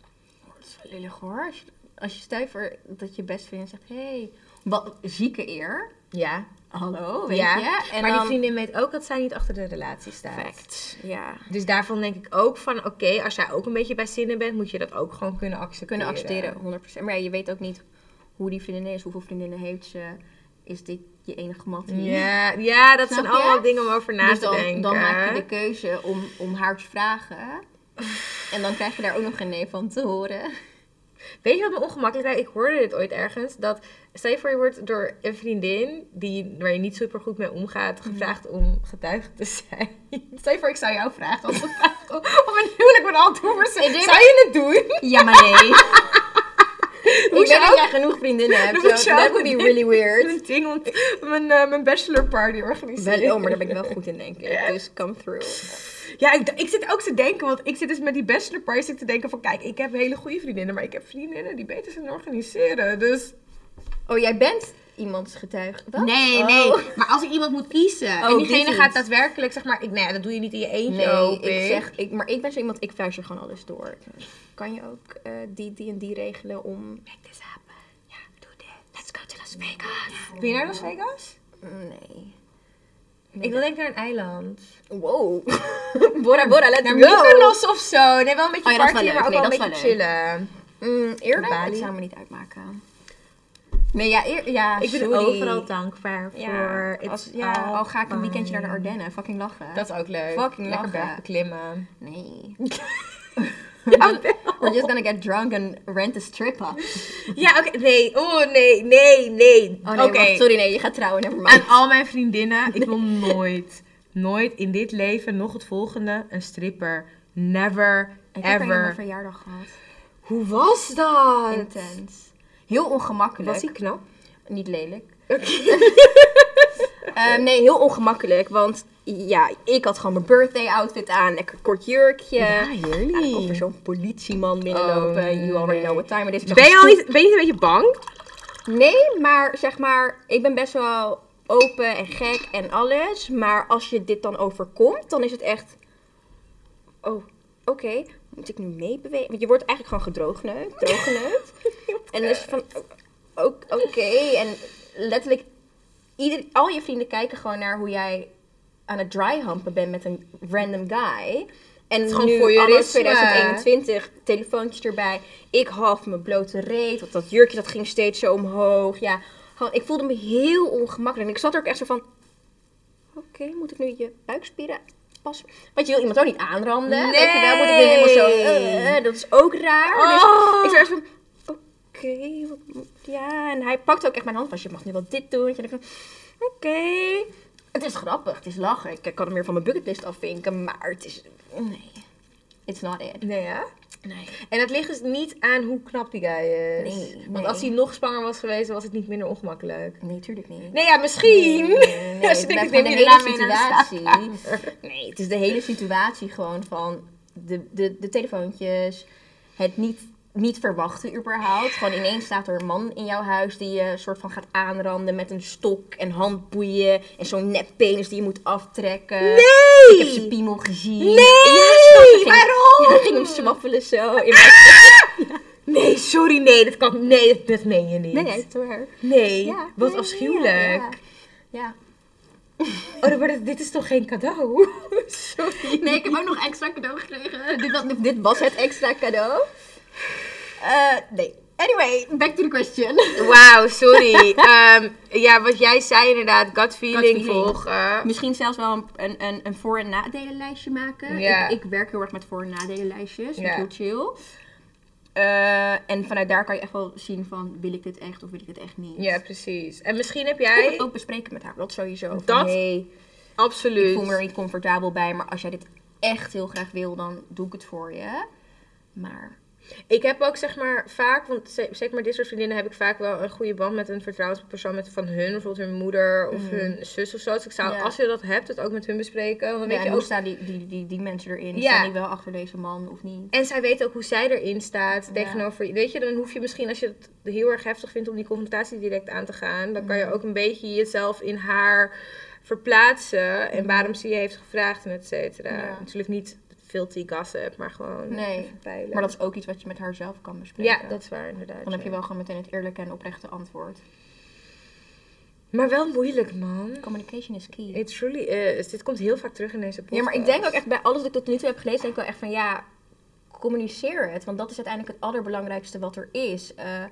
A: Dat is wel lullig hoor. Als je, als je stijf voor dat je best vriendin zegt, hé, hey, wat zieke eer.
B: Ja,
A: Hallo, Oh, weet
B: ja.
A: je? En
B: maar die
A: dan-
B: vriendin weet ook dat zij niet achter de relatie staat.
A: Fact. Ja.
B: Dus daarvan denk ik ook van, oké, als jij ook een beetje bij zinnen bent, moet je dat ook gewoon kunnen accepteren.
A: Kunnen accepteren, 100%. Maar ja, je weet ook niet hoe die vriendin is, hoeveel vriendinnen heeft ze. Is dit je enige mattie?
B: Ja, ja dat
A: Snap
B: zijn
A: je?
B: allemaal dingen om over na
A: dus
B: te
A: dan,
B: denken.
A: dan maak je de keuze om, om haar te vragen. En dan krijg je daar ook nog geen nee van te horen.
B: Weet je wat me ongemakkelijk lijkt? Ik hoorde dit ooit ergens. Dat, stel je voor je wordt door een vriendin die, waar je niet super goed mee omgaat, gevraagd om getuige te zijn. Stel je voor, ik zou jou vragen als gevraagd om, om een huwelijk met al toevers.
A: Ik denk-
B: Zou je het doen?
A: Ja, maar nee. ik weet
B: Hoezo?
A: dat jij genoeg vriendinnen hebt.
B: Dan moet
A: so
B: je
A: that
B: ook
A: would be
B: niet.
A: really weird.
B: Een ding ont- mijn, eh, mijn bachelorparty organiseren.
A: Wel, oh, maar daar ben ik wel goed in, denk ik. Dus come through.
B: Ja, ik, ik zit ook te denken, want ik zit dus met die bachelor parties te denken van... Kijk, ik heb hele goede vriendinnen, maar ik heb vriendinnen die beter zijn in organiseren. Dus
A: Oh, jij bent iemands getuige? Wat?
B: nee,
A: Oh.
B: nee. Maar als ik iemand moet kiezen
A: Oh,
B: en
A: die
B: diegene
A: vindt.
B: gaat daadwerkelijk, zeg maar... Ik, nee, dat doe je niet in je eentje,
A: Nee,
B: hoop
A: ik zeg, ik, maar ik ben zo iemand, ik fluister gewoon alles door. Kan je ook eh, die, die en die regelen om... Make this happen. Ja, doe dit. Let's go to Las Vegas.
B: Wil je naar Las Vegas?
A: Nee.
B: Ik wil denk ik naar een eiland.
A: Wow. Bora Bora, let's
B: Naar
A: go.
B: Mykonos of zo. Nee, wel een beetje
A: Oh ja, dat is wel
B: party,
A: leuk.
B: maar ook
A: Nee,
B: wel
A: dat
B: een
A: is
B: beetje
A: wel
B: chillen.
A: Mm, eerlijk?
B: Bali?
A: Het zou me niet uitmaken. Nee, ja, eer, ja
B: Ik ben
A: sorry.
B: overal dankbaar
A: Ja,
B: voor. It's
A: als, ja
B: all
A: al ga ik een weekendje naar de
B: fine.
A: Ardennen. Fucking lachen.
B: Oh, Dat is ook leuk.
A: Fucking lachen.
B: Lekker berg beklimmen.
A: Nee.
B: Ja, wel.
A: We're just gonna get drunk and rent a strip up.
B: Ja, oké. Nee. Oh, nee. Nee, nee.
A: Oh nee,
B: Oké.
A: wacht, sorry, nee, je gaat trouwen, never mind.
B: Aan al mijn vriendinnen, ik wil nooit, nooit in dit leven, nog het volgende, een stripper. Never,
A: Ik heb bijna mijn
B: ever.
A: verjaardag gehad.
B: Hoe was dat?
A: Intens. Heel ongemakkelijk.
B: Was hij knap?
A: Niet lelijk. Eh, nee, heel ongemakkelijk. Want ja, ik had gewoon mijn birthday outfit aan. Lekker kort jurkje.
B: heerlijk.
A: En dan komt er zo'n politieman binnenlopen.
B: Oh,
A: you already
B: nee.
A: know what time it is. Ik
B: Ben je,
A: zeg,
B: al niet, ben je niet een beetje bang?
A: Nee, maar zeg maar, ik ben best wel open en gek en alles. Maar als je dit dan overkomt, dan is het echt... Oh, oké. Moet ik nu meebewegen? Want je wordt eigenlijk gewoon gedroogneut. Drooggeneukt. en dan is het van... o- o- Oké. En letterlijk, ieder, al je vrienden kijken gewoon naar hoe jij aan het dryhampen bent met een random guy. En
B: gewoon
A: nu,
B: voyeurisme.
A: anno 2021, telefoontjes erbij. Ik half mijn blote reet, want dat jurkje dat ging steeds zo omhoog. Ja, gewoon, ik voelde me heel ongemakkelijk. En ik zat er ook echt zo van, oké, moet ik nu je buikspieren passen? Want je wil iemand ook niet aanranden. Weet je wel, moet ik nu helemaal zo, eh, eh, dat is ook raar.
B: Oh.
A: Dus ik zat echt van, oké, wat moet- ja. En hij pakte ook echt mijn hand van, je mag nu wel dit doen. En ik van, oké. Het is grappig, het is lachen. Ik kan hem meer van mijn bucketlist afvinken, maar het is, nee. It's not it.
B: Nee, hè?
A: Nee.
B: Nou En dat ligt dus niet aan hoe knap die guy is.
A: Nee, nee.
B: Want als hij nog zwanger was geweest, was het niet minder ongemakkelijk.
A: Nee, tuurlijk niet.
B: Nee, ja, misschien.
A: nee,
B: als je
A: het
B: denkt, ik
A: blijft
B: neem
A: gewoon de
B: je daarna
A: hele
B: mee naar de
A: situatie. Nee, het is de hele situatie gewoon van de, de, de telefoontjes, het niet, niet verwachten überhaupt. Gewoon ineens staat er een man in jouw huis die je soort van gaat aanranden met een stok en handboeien en zo'n neppenis die je moet aftrekken. Ik
B: Nee!
A: heb zijn piemel gezien.
B: Nee!
A: Waarom?
B: Waarom?
A: Ja, ik ging hem swaffelen zo. In mijn...
B: Nee, sorry, nee, dat kan. Nee, dat, dat meen je niet.
A: Nee, nee, waar.
B: Nee,
A: Ja,
B: wat
A: nee,
B: afschuwelijk.
A: ja, ja.
B: Oh, maar dit- dit is toch geen cadeau? Sorry.
A: Nee, ik heb ook nog extra cadeau gekregen. Dit was, dit was het extra cadeau. Eh, nee. Anyway, back to the question.
B: Wauw, sorry. Ehm, ja, wat jij zei inderdaad, gut feeling,
A: feeling.
B: volgen.
A: Misschien zelfs wel een, een, een, een voor- en nadelenlijstje maken.
C: Ja.
A: Ik, ik werk heel erg met voor- en nadelenlijstjes.
C: Ja.
A: Ja. Heel chill. Eh, en vanuit daar kan je echt wel zien van, wil ik dit echt of wil ik dit echt niet.
B: Ja, precies. En misschien heb
A: Ik moet
B: jij...
A: het ook bespreken met haar, dat sowieso. Van,
B: Dat- dus.
A: hey, ik
B: Absoluut.
A: voel me er niet comfortabel bij, maar als jij dit echt heel graag wil, dan doe ik het voor je. Maar
B: Ik heb ook zeg maar vaak, want ze- zeker met dit soort vriendinnen heb ik vaak wel een goede band met een vertrouwenspersoon met van hun, bijvoorbeeld hun moeder of hun zus of zo. Dus ik zou,
A: Mm. Ja.
B: als je dat hebt, het ook met hun bespreken. Want
A: ja,
B: dan weet
A: en
B: je
A: hoe
B: ook.
A: staan die, die, die, die mensen erin?
B: Ja.
A: Staan die wel achter deze man of niet?
B: En zij weten ook hoe zij erin staat tegenover je. Weet je, dan hoef je misschien als je het heel erg heftig vindt om die confrontatie direct aan te gaan, dan kan
A: Mm.
B: je ook een beetje jezelf in haar verplaatsen en waarom ze je heeft gevraagd en et cetera.
A: Mm. Ja.
B: Natuurlijk niet filthy gossip, maar gewoon
A: Nee,
B: even peilen.
A: Maar dat is ook iets wat je met haar zelf kan bespreken.
B: ja, dat is waar inderdaad.
A: Dan heb je
B: ja.
A: wel gewoon meteen het eerlijke en oprechte antwoord.
B: Maar wel moeilijk man.
A: Communication is key.
B: It truly is. Dit komt heel vaak terug in deze podcast.
A: Ja, maar ik denk ook echt bij alles dat ik tot nu toe heb gelezen, denk ik wel echt van ja, communiceer het. Want dat is uiteindelijk het allerbelangrijkste wat er is. Eh,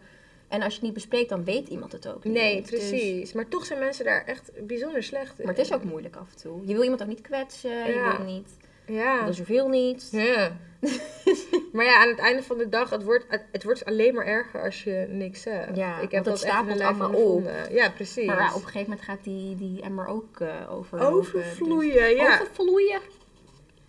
A: en als je het niet bespreekt, dan weet iemand het ook niet.
B: Nee,
A: Dus-
B: precies. Maar toch zijn mensen daar echt bijzonder slecht in.
A: maar het is ook moeilijk af en toe. Je wil iemand ook niet kwetsen, je
B: Ja.
A: wil niet,
B: Ja.
A: dat is zoveel niet.
B: ja. maar ja, aan het einde van de dag, het wordt, het wordt alleen maar erger als je niks zegt.
A: Ja,
B: ik
A: want
B: heb
A: het
B: dat echt in mijn
A: stapelt
B: lijf
A: allemaal op.
B: ondervonden. Ja, precies.
A: Maar ja, op een gegeven moment gaat die, die emmer ook eh overlopen.
B: Overvloeien, ja.
A: Overvloeien.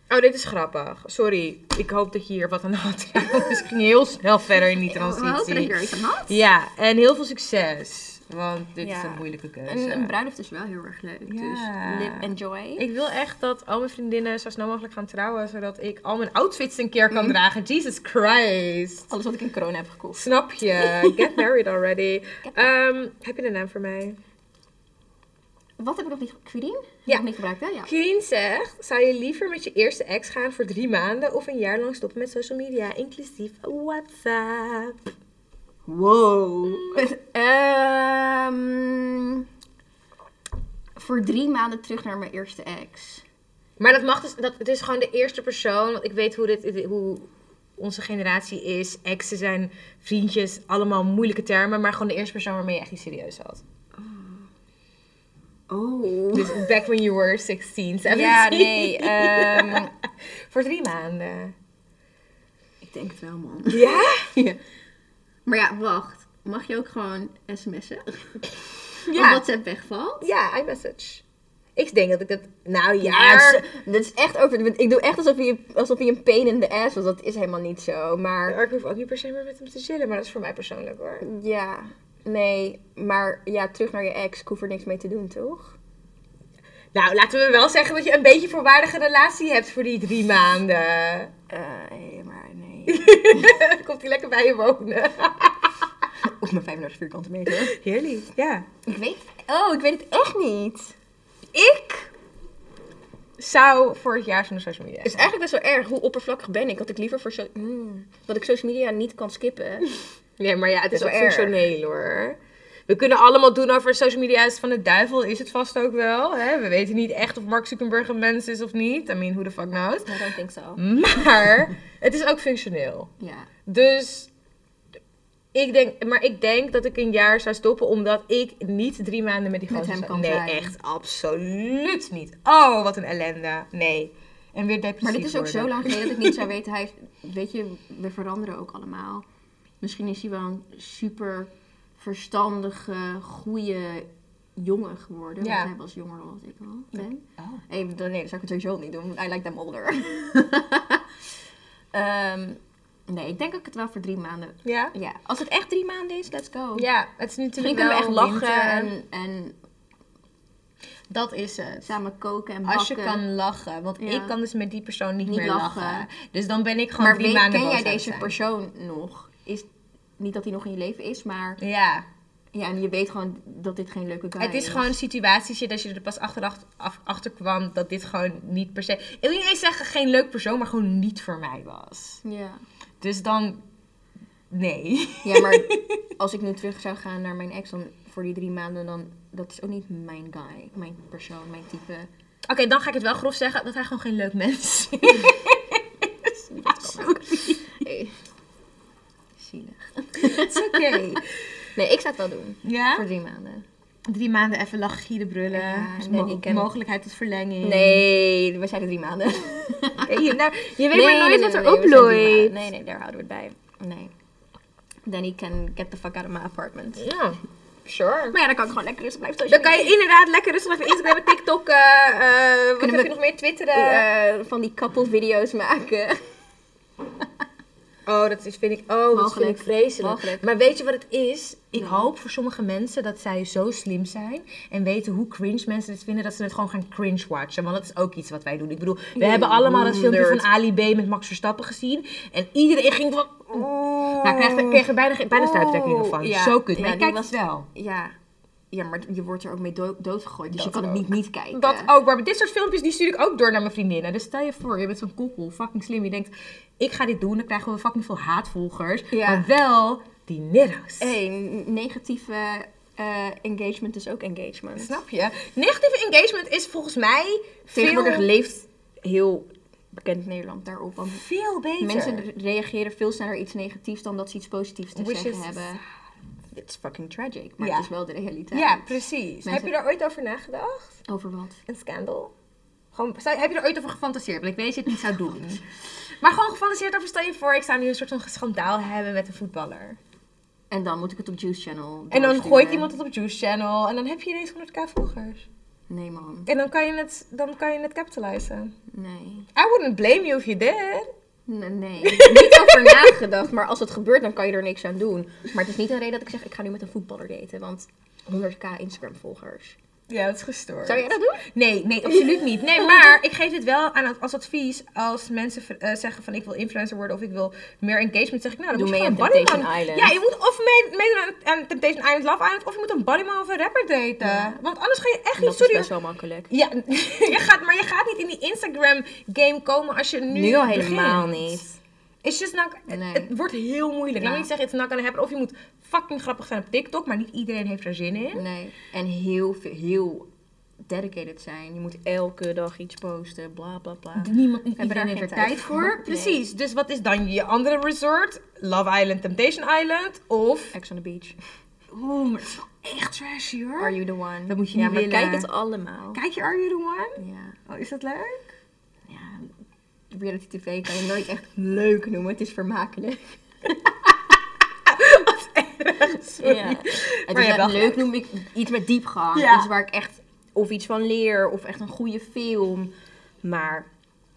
B: Oh, dit is grappig. Sorry. Ik hoop dat je hier wat aan had. dus ik ging heel snel verder in die
A: We hopen dat je
B: transitie.
A: er iets aan had.
B: Ja, en heel veel succes. Want dit is
A: Ja.
B: een moeilijke keuze.
A: En een bruiloft is wel heel erg leuk.
B: Ja.
A: Dus live and joy.
B: Ik wil echt dat al mijn vriendinnen zo snel mogelijk gaan trouwen, zodat ik al mijn outfits een keer kan dragen. Jesus Christ.
A: Alles wat ik in corona heb gekocht.
B: Snap je? Get married already. Ehm, heb je een naam voor mij?
A: Wat heb ik nog niet... Quidin?
B: Ja.
A: Nog niet gebruikt, hè? Ja.
B: Kirien zegt, zou je liever met je eerste ex gaan voor drie maanden of een jaar lang stoppen met social media, inclusief WhatsApp?
A: Wow. Ehm, voor drie maanden terug naar mijn eerste ex.
B: Maar dat mag dus, dat, het is gewoon de eerste persoon, want ik weet hoe, dit, dit- hoe onze generatie is. Exen zijn vriendjes, allemaal moeilijke termen, maar gewoon de eerste persoon waarmee je echt iets serieus had.
A: Oh.
B: Dus back when you were 16, 17.
A: Ja, nee. ehm,
B: Voor drie maanden.
A: ik denk het wel, man.
B: Ja?
A: Ja. Maar ja, wacht. Mag je ook gewoon sms'en? Of
B: Ja.
A: WhatsApp wegvalt?
B: Ja, iMessage. Ik denk dat ik dat... Nou ja,
A: Ja,
B: maar
A: dat is echt over. Ik doe echt alsof hij, alsof hij een pain in the ass was. Dat is helemaal niet zo. Maar
B: ik hoef ook niet per se meer met hem te chillen, maar dat is voor mij persoonlijk hoor.
A: ja, nee. Maar ja, terug naar je ex. Ik hoef er niks mee te doen, toch?
B: Nou, laten we wel zeggen dat je een beetje voorwaardige relatie hebt voor die drie maanden.
A: Eh, nee, maar nee.
B: Komt hij lekker bij je wonen.
A: Op mijn 35 vierkante meter.
B: Heerlijk, ja.
A: ik weet Oh, ik weet het echt niet.
B: Ik zou voor het jaar van de social media.
A: Het is eigenlijk best wel erg hoe oppervlakkig ben ik. Dat ik liever voor zo... Mm, dat ik social media niet kan skippen.
B: Nee, maar ja, het is
A: Dat
B: ook
A: is wel erg.
B: functioneel hoor. We kunnen allemaal doen over social media is van de duivel, is het vast ook wel. Hè? We weten niet echt of Mark Zuckerberg een mens is of niet. I mean, who the fuck knows.
A: I don't think so.
B: Maar het is ook functioneel.
A: Ja.
B: Dus ik denk, maar ik denk dat ik een jaar zou stoppen omdat ik niet drie maanden met die
A: Met
B: gozer
A: hem
B: zou-
A: kan
B: Nee,
A: zijn.
B: echt absoluut niet. Oh, wat een ellende. Nee. En weer depressief
A: Maar dit is ook zo
B: worden.
A: lang geleden dat ik niet zou weten. Hij, is- weet je, we veranderen ook allemaal. Misschien is hij wel een super verstandige, goede jongen geworden.
B: Ja.
A: Want hij was jonger dan wat ik al ben. Nee, nee, dat zou ik het sowieso niet doen. I like them older. Ehm, nee, ik denk dat ik het wel voor drie maanden...
B: Ja?
A: Ja, als het echt drie maanden is, let's go.
B: Ja, het is
A: Oh. Misschien
B: natuurlijk
A: kunnen
B: wel
A: we echt lachen
B: winter.
A: en, en
B: Dat is het.
A: samen koken en bakken.
B: Als je kan lachen, want
A: Ja.
B: ik kan dus met die persoon niet,
A: Niet
B: meer lachen.
A: lachen.
B: Dus dan ben ik gewoon
A: maar
B: drie
A: weet,
B: maanden
A: ken jij
B: boos aan het
A: deze
B: zijn.
A: persoon nog? Is, niet dat hij nog in je leven is, maar...
B: Ja.
A: Ja, en je weet gewoon dat dit geen leuke guy is.
B: Het is gewoon situaties je- dat je er pas achter, af, achter kwam dat dit gewoon niet per se. Ik wil niet eens zeggen geen leuk persoon, maar gewoon niet voor mij was.
A: Ja.
B: Dus dan. Nee.
A: ja, maar als ik nu terug zou gaan naar mijn ex dan voor die drie maanden, dan... Dat is ook niet mijn guy, mijn persoon, mijn type.
B: Oké, dan ga ik het wel grof zeggen dat hij gewoon geen leuk mens is.
A: Hey. Eh, Zielig.
C: It's oké.
A: Nee, ik zou het wel doen.
C: Ja?
A: Voor drie maanden.
C: Drie maanden even lachen, gieren, brullen.
A: Ja,
C: Dus
A: nee,
C: mo-
A: ik ken-
C: mogelijkheid tot verlenging.
A: Nee, we zijn er drie maanden.
C: Oké, je- nou, je weet
A: Nee,
C: maar nooit
A: nee,
C: wat
A: nee,
C: er
A: nee, we zijn drie maanden.
C: oplooit.
A: Nee, nee, daar houden we het bij. Nee. Then he can get the fuck out of my apartment.
B: Ja, sure.
A: Maar ja, dan kan ik gewoon lekker rustig blijven
B: Dan
A: socialen.
B: kan je inderdaad lekker rustig even Instagram, TikTok, eh eh, wat
A: Kunnen
B: heb
A: we-
B: je nog meer, Twitteren.
A: Eh, van die couple video's maken.
B: Oh, dat is, vind ik, oh, dat vind
A: Mogelijk.
B: ik vreselijk.
A: Mogelijk.
B: Maar weet je wat het is? Ik
C: Nee.
B: hoop voor sommige mensen dat zij zo slim zijn en weten hoe cringe mensen dit vinden, dat ze het gewoon gaan cringe watchen. Want dat is ook iets wat wij doen. Ik bedoel, we hebben allemaal dat filmpje van Ali B met Max Verstappen gezien. En iedereen ging van. Nou, ik kreeg, er- kreeg er bijna, bijna stuiptrekkingen van.
A: Oeh, ja.
B: Zo kut.
A: Ja,
B: Maar ik
A: die
B: kijk
A: was-
B: het wel.
A: Ja. Ja, maar je wordt er ook mee dood, doodgegooid. Dus
B: Dat
A: je kan
B: ook.
A: het niet niet kijken.
B: Dat ook, maar dit soort filmpjes die stuur ik ook door naar mijn vriendinnen. Dus stel je voor, je bent zo'n koppel, fucking slim. Je denkt, ik ga dit doen, dan krijgen we fucking veel haatvolgers.
A: Ja.
B: Maar wel dineros.
A: Hey, negatieve eh, engagement is ook engagement.
B: Snap je? Negatieve engagement is volgens mij
A: Tegenwoordig
B: veel,
A: leeft heel bekend Nederland daarop. Want
B: veel beter.
A: mensen re- reageren veel sneller iets negatiefs dan dat ze iets positiefs te
B: Which
A: zeggen
B: is-
A: hebben. It's fucking tragic, maar
B: Ja.
A: het is wel de realiteit.
B: ja, precies.
A: Mensen-
B: Heb je daar ooit over nagedacht?
A: Over wat?
B: Een scandal? Gewoon, zou- heb je er ooit over gefantaseerd? Want ik weet dat je het niet zou doen. Maar gewoon gefantaseerd over, stel je voor, ik zou nu een soort van schandaal hebben met een voetballer.
A: En dan moet ik het op Juice Channel.
B: En dan
A: doorsturen.
B: gooit iemand het op Juice Channel en dan heb je ineens 100k volgers.
A: Nee, man.
B: En dan kan je het, dan kan je het capitalizen.
A: Nee.
B: I wouldn't blame you if you did.
A: Nee, nee. niet over nagedacht, maar als het gebeurt, dan kan je er niks aan doen. Maar het is niet een reden dat ik zeg, ik ga nu met een voetballer daten, want 100k Instagram-volgers.
B: Ja, dat is gestoord.
A: Zou jij dat doen?
B: Nee, nee, absoluut niet. Nee, maar ik geef dit wel aan als advies als mensen ver- eh, zeggen van ik wil influencer worden of ik wil meer engagement, zeg ik nou, dan
A: Doe
B: moet je
A: mee
B: gewoon
A: aan
B: een bodyman.
A: Temptation Island.
B: Ja, je moet of mee- meedoen aan, aan Temptation Island, Love Island, of je moet een bodyman of een rapper daten. Want anders ga je echt niet
A: Dat is
B: serieus...
A: best wel makkelijk.
B: Ja, je gaat, maar je gaat niet in die Instagram game komen als je nu
A: Nu al helemaal
B: begint.
A: niet.
B: It's just not,
A: Nee.
B: Het wordt heel moeilijk. Laat me
A: Ja.
B: niet zeggen, it's not gonna happen. Of je moet fucking grappig zijn op TikTok, maar niet iedereen heeft er zin in.
A: Nee. En heel, veel- heel dedicated zijn. Je moet elke dag iets posten, bla bla bla.
B: Niemand niet
A: Hebben
B: iedereen
A: daar
B: heeft er
A: geen
B: tijd,
A: tijd
B: voor.
A: voor. Nee.
B: Precies. Dus wat is dan je andere resort? Love Island, Temptation Island of...
A: Ex on the beach.
B: Oeh, maar het is wel echt trashy hoor.
A: Are you the one?
B: Dat moet je
A: ja,
B: niet
A: maar
B: willen.
A: kijk het allemaal.
B: Kijk je Are You The One?
A: Ja.
B: Oh, is dat leuk?
A: ja. Reality TV kan je nooit echt leuk noemen. Het is vermakelijk.
B: Sorry.
A: Ja. Het
B: Maar
A: is
B: je hebt wel
A: echt leuk noem ik iets met diepgang.
B: Ja.
A: Iets waar ik echt of iets van leer of echt een goede film. Maar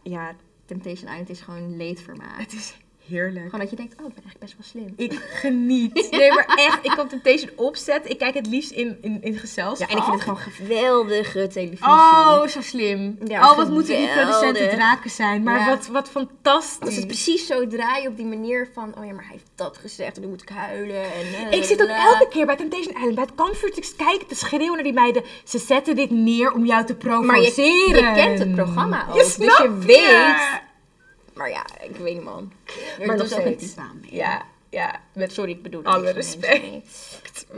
A: ja, Temptation Island is gewoon leedvermaak.
B: Het is heerlijk.
A: Gewoon dat je denkt, oh, ik ben eigenlijk best wel slim.
B: Ik geniet. Nee, maar echt. Ik kan Temptation opzetten. Ik kijk het liefst in, in, in gezelschap.
A: Ja, en ik vind het gewoon geweldige televisie.
B: Oh, zo slim.
A: Ja,
B: oh, wat moeten die
A: geweldig.
B: producenten draken zijn. Maar
A: Ja. Mm.
B: wat, wat
A: Dat
B: fantastisch.
A: is het precies zo draaien op die manier van, oh ja, maar hij heeft dat gezegd en nu moet ik huilen. En, eh,
B: Ik zit ook
A: bla.
B: elke keer bij Temptation Island, bij het kampvuur te kijken, te schreeuwen naar die meiden. Ze zetten dit neer om jou te provoceren.
A: Maar je, je kent het programma ook,
B: Je
A: dus
B: snapt
A: je weet. Maar ja, ik weet niet man. Maar
B: nog
A: dat is ook met
B: steeds.
A: die baan mee.
B: Ja, ja. Met
A: Sorry, ik bedoel er
B: Alle
A: niks gemeens
B: respect.
A: mee.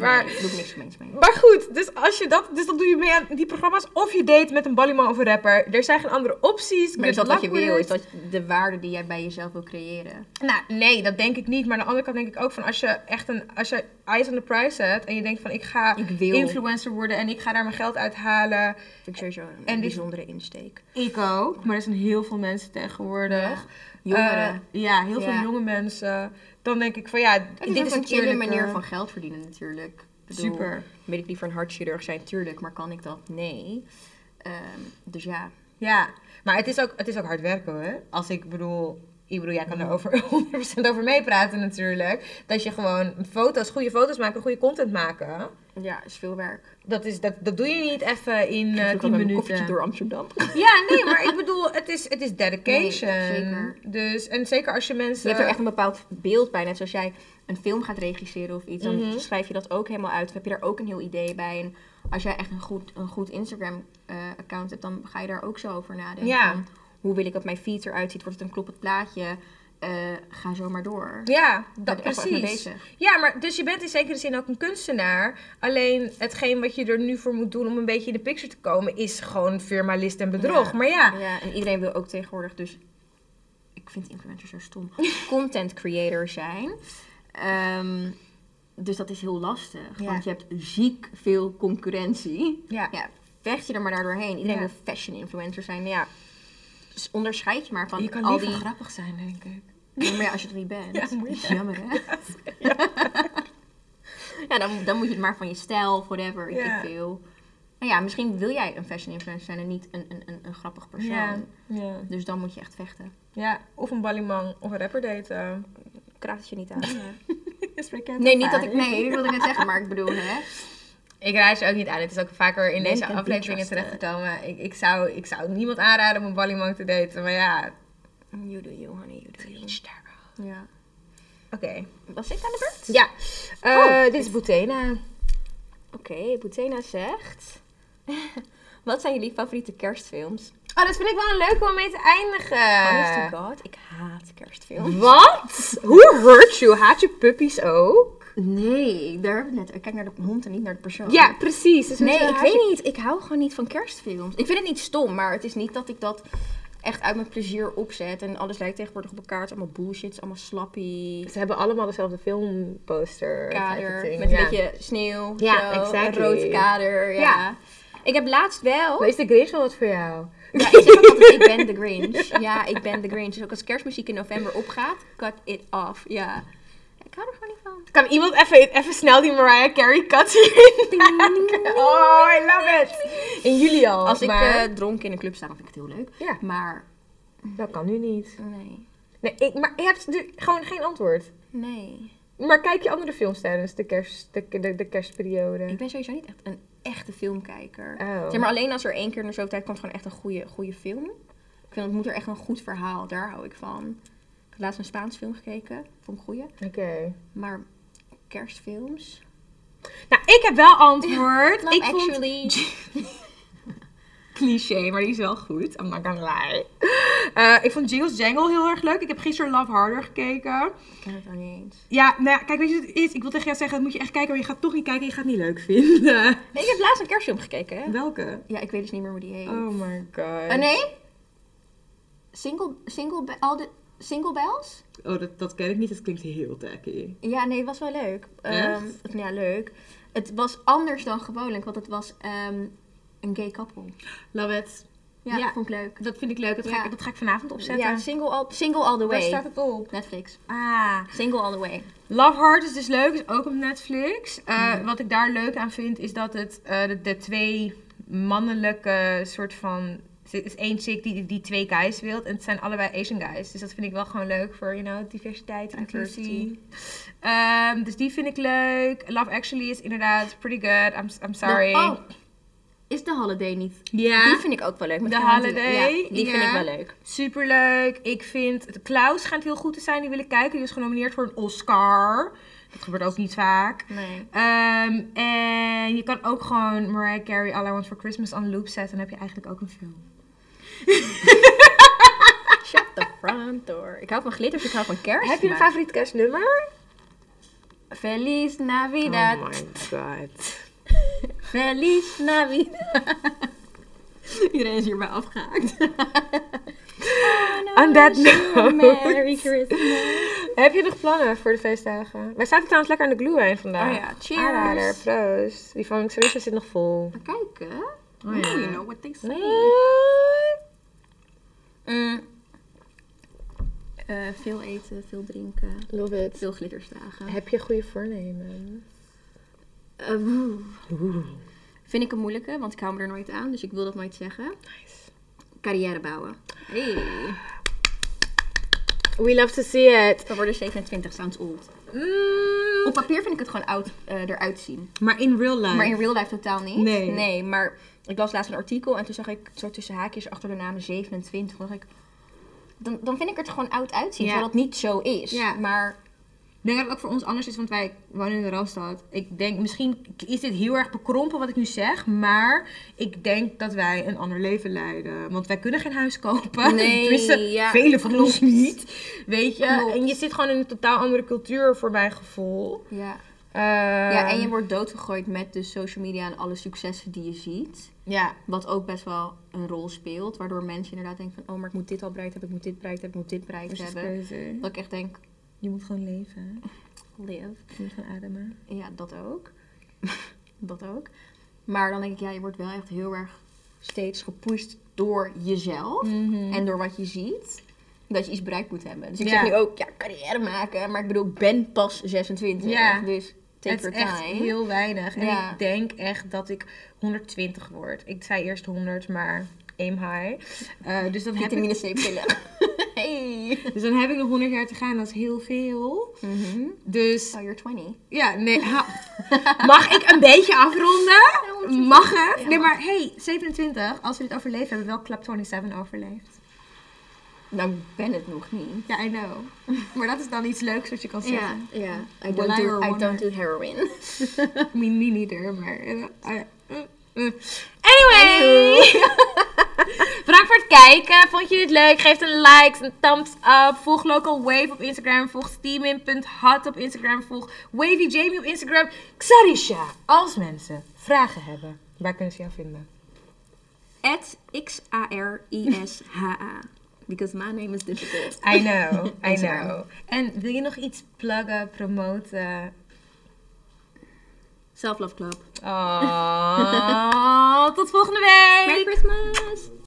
B: Maar,
A: Nee, ik doe er niks gemeens mee.
B: maar goed, dus, als je dat, dus dan doe je mee aan die programma's. Of je date met een ballyman of een rapper. Er zijn geen andere opties.
A: Maar is
B: Good
A: dat wat je
B: luck with
A: wil? Is
B: it.
A: dat de waarde die jij bij jezelf wil creëren?
B: Nou, nee, dat denk ik niet. Maar aan de andere kant denk ik ook van als je echt een, als je eyes on the prize zet en je denkt van ik ga
A: Ik wil.
B: influencer worden en ik ga daar mijn geld uit halen.
A: Vind ik sowieso een
B: En die-
A: bijzondere insteek.
B: Ik ook, maar er zijn heel veel mensen tegenwoordig.
A: Jongeren.
B: Eh, ja, heel veel
A: Ja.
B: jonge mensen. Dan denk ik van ja,
A: dit is een chille
B: natuurlijk,
A: manier
B: eh,
A: van geld verdienen natuurlijk. Ik bedoel,
B: Super.
A: Weet ik liever een hartchirurg zijn, tuurlijk, maar kan ik dat? Nee. Ehm, dus ja.
B: Ja, maar het is ook, het is ook hard werken hoor. Als ik bedoel, ik bedoel, jij kan er over 100% over meepraten natuurlijk. Dat je gewoon foto's, goede foto's maken, goede content maken.
A: Ja, is veel werk.
B: Dat, is, dat, dat doe je niet even in
A: Ik
B: eh,
A: heb een
B: 10
A: koffietje
B: minuten.
A: door Amsterdam.
B: Ja, nee, maar ik bedoel, het is, het is dedication.
A: Nee, zeker.
B: Dus, en zeker als je
A: Je
B: mensen...
A: hebt er echt een bepaald beeld bij. Net zoals jij een film gaat regisseren of iets, dan schrijf je dat ook helemaal uit. Of heb je daar ook een heel idee bij. En als jij echt een goed, een goed Instagram-account hebt, dan ga je daar ook zo over nadenken.
B: Ja.
A: Van, hoe wil ik dat mijn feed eruit ziet? Wordt het een kloppend plaatje? Eh, ga zo maar door.
B: Ja,
A: ben
B: dat
A: er echt wel echt mee
B: precies.
A: bezig.
B: Ja, maar dus je bent in zekere zin ook een kunstenaar. Alleen hetgeen wat je er nu voor moet doen om een beetje in de picture te komen, is gewoon firmalist en bedrog. Maar ja,
A: Ja, en iedereen wil ook tegenwoordig dus... Ik vind influencers zo stom. Content creator zijn. Eh, Ehm, dus dat is heel lastig,
C: Ja.
A: want je hebt ziek veel concurrentie.
C: Ja.
A: Ja, vecht je er maar daar doorheen. Iedereen
C: Ja.
A: wil fashion influencers zijn. Ja, dus onderscheid je maar van
C: je kan
A: al
C: liever
A: die...
C: grappig zijn, denk ik.
A: Maar ja, als je er niet bent,
C: Ja,
A: dat is jammer hè? Ja, dan, dan moet je het maar van je stijl, of whatever, weet
C: Ja.
A: ik veel. Nou ja, misschien wil jij een fashion influencer zijn en niet een, een, een, een grappig persoon.
C: Ja. Ja.
A: Dus dan moet je echt vechten.
C: ja, of een ballyman of een rapper daten.
A: Ik raad het je niet aan.
C: Is bekend
A: Nee, niet dat ik.
C: ervaring.
A: Nee, dat wilde ik net zeggen, maar ik bedoel, hè?
C: Ik raad je ook niet aan. Het is ook vaker in
A: Men
C: deze
A: can be
C: afleveringen
A: trusted.
C: terechtgekomen. Ik, ik, zou, ik zou niemand aanraden om een ballyman te daten, maar ja.
A: You do you, honey, you do you. Ja.
C: Oké.
A: Was ik aan de beurt?
B: Ja, Eh, dit is Boetena.
A: Oké, Boetena zegt. Wat zijn jullie favoriete kerstfilms?
C: Oh, dat vind ik wel een leuke om mee te eindigen.
A: Honest to God, ik haat kerstfilms.
B: Wat? Hoe hurt you? Haat je puppies ook?
A: Nee, daar hebben we het net. Ik kijk naar de hond en niet naar de persoon.
B: Ja, precies. Dus
A: Nee,
B: hoezo
A: ik
B: haat
A: weet
B: je-
A: niet. Ik hou gewoon niet van kerstfilms. Ik vind het niet stom, maar het is niet dat ik dat echt uit mijn plezier opzet. En alles lijkt tegenwoordig op elkaar. Het is allemaal bullshit, het is allemaal slappie.
B: Ze hebben allemaal dezelfde filmposter. type
A: kader.
B: thing,
A: Met een
B: ja.
A: beetje sneeuw.
B: Ja,
A: zo,
B: exactly.
A: Een rood kader. Ja.
B: Ja.
A: Ik heb laatst wel.
B: Maar is de Grinch wel wat voor jou?
A: Ja, ik zeg ook altijd, ik ben de Grinch. Ja. ik ben de Grinch. Dus ook als kerstmuziek in november opgaat, cut it off. Ja. Ik hou er gewoon niet van.
B: Kan iemand even, even snel die Mariah Carey cut hierin maken? Oh, I love it. In juli al.
A: Als ik
B: maar...
A: eh, dronken in een club sta, dan vind ik het heel leuk.
B: Ja.
A: Maar
B: Dat kan nu niet.
A: nee.
B: Nee, ik, maar je hebt nu gewoon geen antwoord.
A: Nee.
B: Maar kijk je andere films tijdens de, kerst, de, de, de kerstperiode?
A: Ik ben sowieso niet echt een echte filmkijker.
B: Oh.
A: Zeg maar alleen als er één keer in de zoveel tijd komt gewoon echt een goede, goede film. Ik vind het moet er echt een goed verhaal. Daar hou ik van. Ik heb laatst een Spaans film gekeken. Vond ik een goeie.
B: Oké.
A: Maar kerstfilms?
B: Nou, ik heb wel antwoord.
A: Love
B: ik vond...
A: Actually.
B: Cliché, maar die is wel goed. I'm not gonna lie. Eh, ik vond Jingles Jangle heel erg leuk. Ik heb gisteren Love Harder gekeken.
A: Ik ken het ook niet eens.
B: Ja, nou ja, kijk, weet je wat het is? Ik wil tegen jou zeggen, dat moet je echt kijken, maar je gaat toch niet kijken en je gaat het niet leuk vinden.
A: Nee, ik heb laatst een kerstfilm gekeken. hè?
B: Welke?
A: Ja, ik weet dus niet meer hoe die heet.
B: Oh my god.
A: Eh, nee? Single, single, be- al de, single Bells?
B: Oh, dat, dat ken ik niet. Dat klinkt heel tacky.
A: Ja, nee, het was wel leuk. Ehm,
B: Echt?
A: of, nou ja, leuk. Het was anders dan gewoonlijk, want het was ehm, een gay couple.
B: Love it.
A: Ja,
C: Ja.
A: vond ik leuk.
C: Dat vind ik leuk. Dat ga,
A: Ja.
C: ik, dat ga ik vanavond opzetten.
A: Ja, single all, single all the
C: Waar
A: way.
C: staat het op?
A: Netflix.
C: Ah.
A: Single all the way.
C: Love Hard is dus leuk, is ook op Netflix. Eh, Wat ik daar leuk aan vind, is dat het eh, de, de twee mannelijke soort van... Er is één chick die, die twee guys wilt en het zijn allebei Asian guys. Dus dat vind ik wel gewoon leuk voor, you know, diversiteit, inclusie. Ehm, dus die vind ik leuk. Love Actually is inderdaad pretty good. I'm, I'm sorry.
A: De- oh, is de holiday niet?
C: Ja.
A: Die vind ik ook wel leuk. met
C: The
A: Valentine.
C: Holiday,
A: Ja, die vind
C: ja.
A: ik wel leuk.
C: Superleuk. Ik vind... Klaus schijnt heel goed te zijn. Die wil ik kijken. Die is genomineerd voor een Oscar. Dat gebeurt ook niet vaak.
A: Nee.
C: Ehm, en je kan ook gewoon Mariah Carey All I Want For Christmas on loop zetten. Dan heb je eigenlijk ook een film.
A: Shut the front door. Ik hou van glitters, ik hou van kerst.
B: Heb je een
A: maar-
B: favoriet kerstnummer?
A: Feliz Navidad.
B: Oh god.
A: Feliz Navidad. Iedereen is hierbij afgehaakt.
B: On that note.
A: Merry Christmas.
B: Heb je nog plannen voor de feestdagen? Wij zaten trouwens lekker aan de glue heen vandaag.
A: Oh ja, cheers.
B: Aanrader, proost. Die van Xerissa zit nog vol.
A: Maar Kijk, hè.
C: ja.
A: Now You know what they say. Mm. Eh, veel eten, veel drinken,
B: Love it.
A: veel glittersdagen.
B: Heb je goede voornemen?
A: Eh, oeh. Vind ik een moeilijke, want ik hou me er nooit aan, dus ik wil dat nooit zeggen.
B: Nice.
A: Carrière bouwen. Hey.
B: We love to see it.
A: We worden 27, sounds old.
C: Mm,
A: Op papier vind ik het gewoon oud eh, eruit zien.
C: maar in real life.
A: Maar in real life totaal niet.
C: Ah. Nee.
A: Nee, maar ik las laatst een artikel en toen zag ik zo tussen haakjes achter de naam 27. Toen dacht ik, dan, dan vind ik het er gewoon oud uitzien,
C: Ja.
A: terwijl dat niet zo is.
C: Ja.
A: Maar
C: Ik denk dat het ook voor ons anders is, want wij wonen in de Randstad. Ik denk, misschien is dit heel erg bekrompen wat ik nu zeg, maar ik denk dat wij een ander leven leiden. Want wij kunnen geen huis kopen.
A: Nee,
C: Tenminste,
A: ja,
C: velen van ons niet. Weet je?
A: Klopt.
C: En je zit gewoon in een totaal andere cultuur voor mijn gevoel.
A: ja.
C: Eh,
A: ja, en je wordt doodgegooid met de social media en alle successen die je ziet.
C: ja.
A: Wat ook best wel een rol speelt, waardoor mensen inderdaad denken van... Oh, maar ik moet dit al bereikt hebben, ik moet dit bereikt hebben, ik moet dit bereikt
C: Dus dat is
A: hebben.
C: crazy.
A: Dat ik echt denk,
C: Je moet gewoon leven.
A: live.
E: Niet gaan ademen.
A: Ja, dat ook. dat ook. Maar dan denk ik, ja, je wordt wel echt heel erg steeds gepusht door jezelf en door wat je ziet. Dat je iets bereikt moet hebben. Dus ik
B: Ja.
A: zeg nu ook, Mhm. ja, carrière maken. Maar ik bedoel, ik ben pas 26.
B: Ja.
A: Dus take
B: Het
A: your
B: is echt
A: time.
B: heel weinig. En
A: Ja.
B: ik denk echt dat ik 120 word. Ik zei eerst 100, maar aim high. Eh, dus, dan heb ik,
A: Vitamine C pillen. hey.
B: dus dan heb ik nog 100 jaar te gaan. Dat is heel veel. Dus
A: Oh, you're 20.
B: ja, nee. ha- Mag ik een beetje afronden? Mag het? Nee, maar hey, 27. Als we dit overleven, hebben we wel Club 27 overleefd.
A: Nou, ik ben het nog niet.
B: Ja, I know. Maar dat is dan iets leuks wat je kan zeggen.
A: Ja, ja. I
B: Will
A: don't,
B: I
A: do,
B: or
A: I
B: won't
A: don't do heroin.
B: I mean, me neither, maar... eh, eh, eh, eh. Anyway! Bedankt voor het kijken. Vond je dit leuk? Geef een like, een thumbs up. Volg Local Wave op Instagram. Volg steamin.hot op Instagram. Volg Wavy Jamie op Instagram. Xarisha, als mensen vragen hebben, waar kunnen ze jou vinden?
A: At X-A-R-I-S-H-A. Because my name is difficult.
B: I know, I
A: Instagram.
B: know. En wil je nog iets pluggen, promoten?
A: Self-love club.
B: Oh, tot volgende week!
A: Merry Christmas!